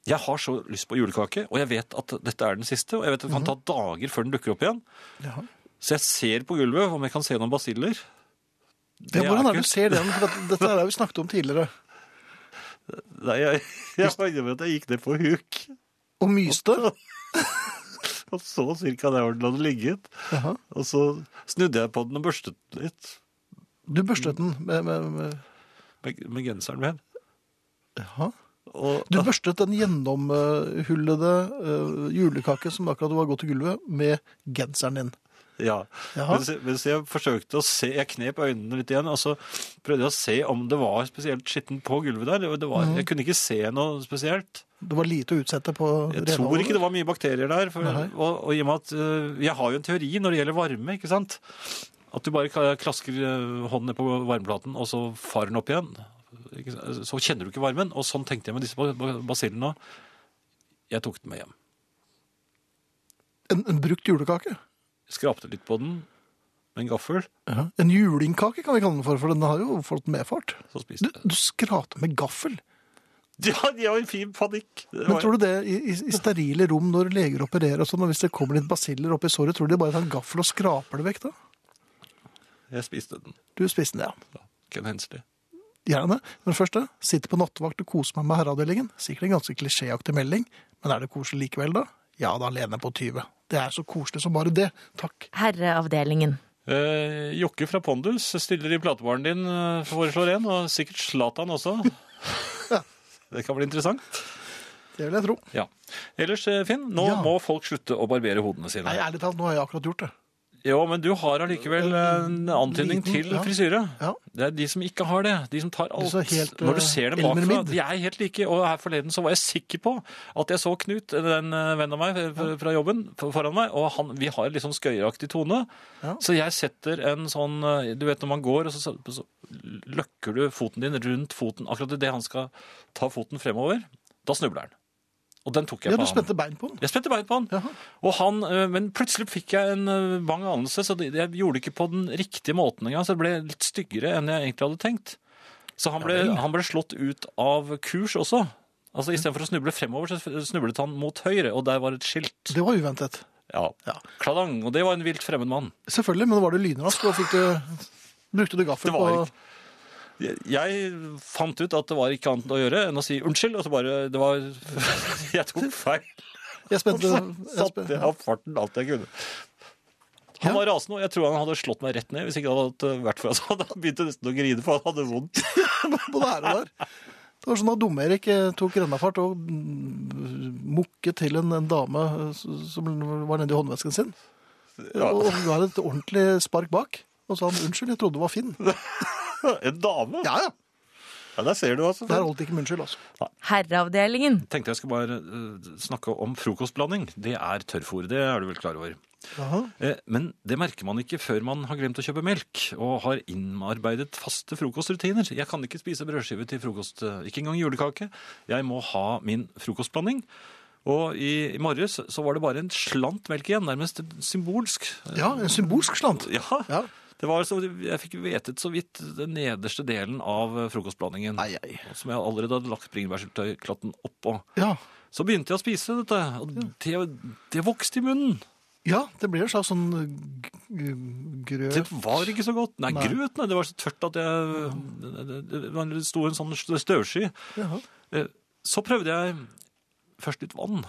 Speaker 2: jeg har så lyst på julekake, og jeg vet at dette er den siste, og jeg vet at det kan ta
Speaker 1: Mhm.
Speaker 2: dager før den dukker opp igjen.
Speaker 1: Ja.
Speaker 2: Så jeg ser på gulvet om jeg kan se noen basiller.
Speaker 1: Ja, hvordan er det
Speaker 2: ikke-
Speaker 1: du ser den? For dette- Dette her har vi snakket om tidligere.
Speaker 2: Nei, jeg, jeg var inne med at jeg gikk ned på huk,
Speaker 1: Og myste.
Speaker 2: og så cirka der hvor den hadde ligget.
Speaker 1: Jaha.
Speaker 2: Og så snudde jeg på den og børstet litt
Speaker 1: Du børstet den med, med, med
Speaker 2: med, med genseren min.
Speaker 1: Jaha.
Speaker 2: Og,
Speaker 1: Du børstet den gjennomhullede eh, julekake som akkurat var gått til gulvet, med genseren din.
Speaker 2: Ja.
Speaker 1: Jaha.
Speaker 2: Mens, jeg- mens jeg forsøkte å se Jeg knep øynene litt igjen, og så prøvde jeg å se om det var spesielt skitten på gulvet der. Det- Det var,
Speaker 1: Mhm.
Speaker 2: Jeg kunne ikke se noe spesielt.
Speaker 1: Det var lite å utsette på
Speaker 2: Jeg tror ikke det var mye bakterier der. For,
Speaker 1: Nei.
Speaker 2: og, og i og med at øh, Jeg har jo en teori når det gjelder varme, ikke sant? At du bare ka- klasker øh, hånden ned på varmeplaten, og så farer den opp igjen. Ikke sant? Så kjenner du ikke varmen. Og sånn tenkte jeg med disse ba- ba- basillene òg. Jeg tok den med hjem.
Speaker 1: En, en brukt julekake.
Speaker 2: Skrapte litt på den med en gaffel,
Speaker 1: En julingkake kan vi kalle den for, for den har jo fått medfart.
Speaker 2: så spiste
Speaker 1: Du,
Speaker 2: jeg.
Speaker 1: du skrater med gaffel.
Speaker 2: Ja, de har jo en fin panikk. Det
Speaker 1: Men
Speaker 2: var-
Speaker 1: tror du det i, i, i sterile rom når leger opererer og sånn, og hvis det kommer litt basiller oppi såret, tror du de bare tar en gaffel og skraper det vekk da?
Speaker 2: Jeg spiste den.
Speaker 1: Du spiste den, ja.
Speaker 2: Ken Hensley.
Speaker 1: Gjerne. Men først det, sitter på nattevakt og koser meg med herreavdelingen. Sikkert en ganske klisjéaktig melding, men er det koselig likevel da? Ja, da lener jeg på 20. Det er så koselig som bare det. Takk.
Speaker 4: Herreavdelingen.
Speaker 2: Eh, Jokke fra Pondus stiller i platebaren din, eh, foreslår en, og sikkert Zlatan også. Det kan bli interessant.
Speaker 1: Det vil jeg tro.
Speaker 2: Ja. Ellers, eh, Finn, nå
Speaker 1: Ja.
Speaker 2: må folk slutte å barbere hodene sine.
Speaker 1: Nei, ærlig talt, nå har jeg akkurat gjort det.
Speaker 2: Jo, men du har allikevel en antydning
Speaker 1: Eh, Liten,
Speaker 2: til
Speaker 1: ja.
Speaker 2: frisyre.
Speaker 1: Ja,
Speaker 2: Det er de som ikke har det. De som tar alt.
Speaker 1: så helt, eh,
Speaker 2: Når du ser dem
Speaker 1: Elmer
Speaker 2: bakfra,
Speaker 1: Midd.
Speaker 2: de er helt like. Og her forleden så var jeg sikker på at jeg så Knut, en eh, venn av meg eh, fra- fra jobben, f- foran meg. Og han, vi har litt sånn skøyeraktig tone.
Speaker 1: Ja.
Speaker 2: Så jeg setter en sånn eh, Du vet når man går, og så, så løkker du foten din rundt foten akkurat idet han skal ta foten fremover. Da snubler han. Og den tok jeg
Speaker 1: ja du
Speaker 2: på han.
Speaker 1: spente bein på den.
Speaker 2: Jeg spente bein på han.
Speaker 1: Jaha.
Speaker 2: Og han, eh, men plutselig fikk jeg en eh, bang anelse, så det- jeg gjorde det ikke på den riktige måten engang, så det ble litt styggere enn jeg egentlig hadde tenkt. Så han ble, han ble slått ut av kurs også. Altså istedenfor å snuble fremover, så snublet han mot høyre, og der var et skilt.
Speaker 1: Det var uventet.
Speaker 2: Ja.
Speaker 1: Ja.
Speaker 2: Kladang, og det var en vilt fremmed mann.
Speaker 1: Selvfølgelig, men var du lynrask, og fikk du, brukte du gaffel
Speaker 2: Det
Speaker 1: på
Speaker 2: var Jeg- Jeg fant ut at det var ikke annet å gjøre enn å si unnskyld, og så bare Det var Jeg tok feil.
Speaker 1: Jeg spente jeg
Speaker 2: Satte
Speaker 1: spen-
Speaker 2: jeg opp farten alt jeg kunne.
Speaker 1: Ja.
Speaker 2: Han var rasende, og jeg tror han hadde slått meg rett ned hvis ikke det hadde vært for at han hadde begynt nesten å grine, for han hadde vondt.
Speaker 1: både her og der. Det var sånn at Dum-Erik eh, tok rennafart og mm, mukket til en, en dame eh, som var nedi håndvesken sin.
Speaker 2: Ja.
Speaker 1: Og ga henne et ordentlig spark bak. Og sa han unnskyld, jeg trodde det var Finn.
Speaker 2: En dame?
Speaker 1: Ja, ja.
Speaker 2: Ja, der ser du, altså.
Speaker 1: Der holdt det ikke med unnskyld, altså.
Speaker 4: Herreavdelingen.
Speaker 2: Tenkte jeg skulle bare eh, snakke om frokostblanding. Det er tørrfôr, det er du vel klar over.
Speaker 1: Jaha.
Speaker 2: Eh, Men det merker man ikke før man har glemt å kjøpe melk og har innarbeidet faste frokostrutiner. Jeg kan ikke spise brødskive til frokost, eh, ikke engang julekake. Jeg må ha min frokostblanding. Og i, i morges så var det bare en slant melk igjen, nærmest symbolsk.
Speaker 1: Ja, en symbolsk slant.
Speaker 2: Ja,
Speaker 1: Ja.
Speaker 2: det var så, jeg fikk vetet så vidt den nederste delen av eh, frokostblandingen.
Speaker 1: Ai, ai.
Speaker 2: Som jeg allerede hadde lagt bringebærsyltetøyklatten oppå.
Speaker 1: Ja.
Speaker 2: Så begynte jeg å spise dette, og det, det vokste i munnen.
Speaker 1: ja, det ble en slags sånn g- g-
Speaker 2: Det
Speaker 1: grøt
Speaker 2: var ikke så godt. Nei,
Speaker 1: Nei.
Speaker 2: grøt, nei. Det var så tørt at jeg, det, det, det- det sto en sånn støvsky.
Speaker 1: Jaha.
Speaker 2: Eh, Så prøvde jeg først litt vann.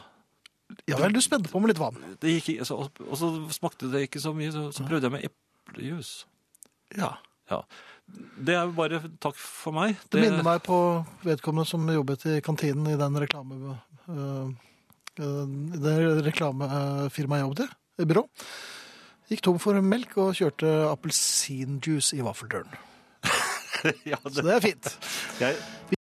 Speaker 1: Ja vel, du spente på med litt vann.
Speaker 2: Det gikk, ikke- så, og så smakte det ikke så mye, så, så prøvde jeg med eplejus.
Speaker 1: Ja.
Speaker 2: Ja. Det er jo bare takk for meg.
Speaker 1: Det minner meg på vedkommende som jobbet i kantinen i den reklame... øh, øh, det reklamefirmaet jeg jobbet i, i byrå. Gikk tom for melk og kjørte appelsinjuice i vaffeldøren.
Speaker 2: ja,
Speaker 1: Så
Speaker 2: det,
Speaker 1: det er fint.
Speaker 2: jeg,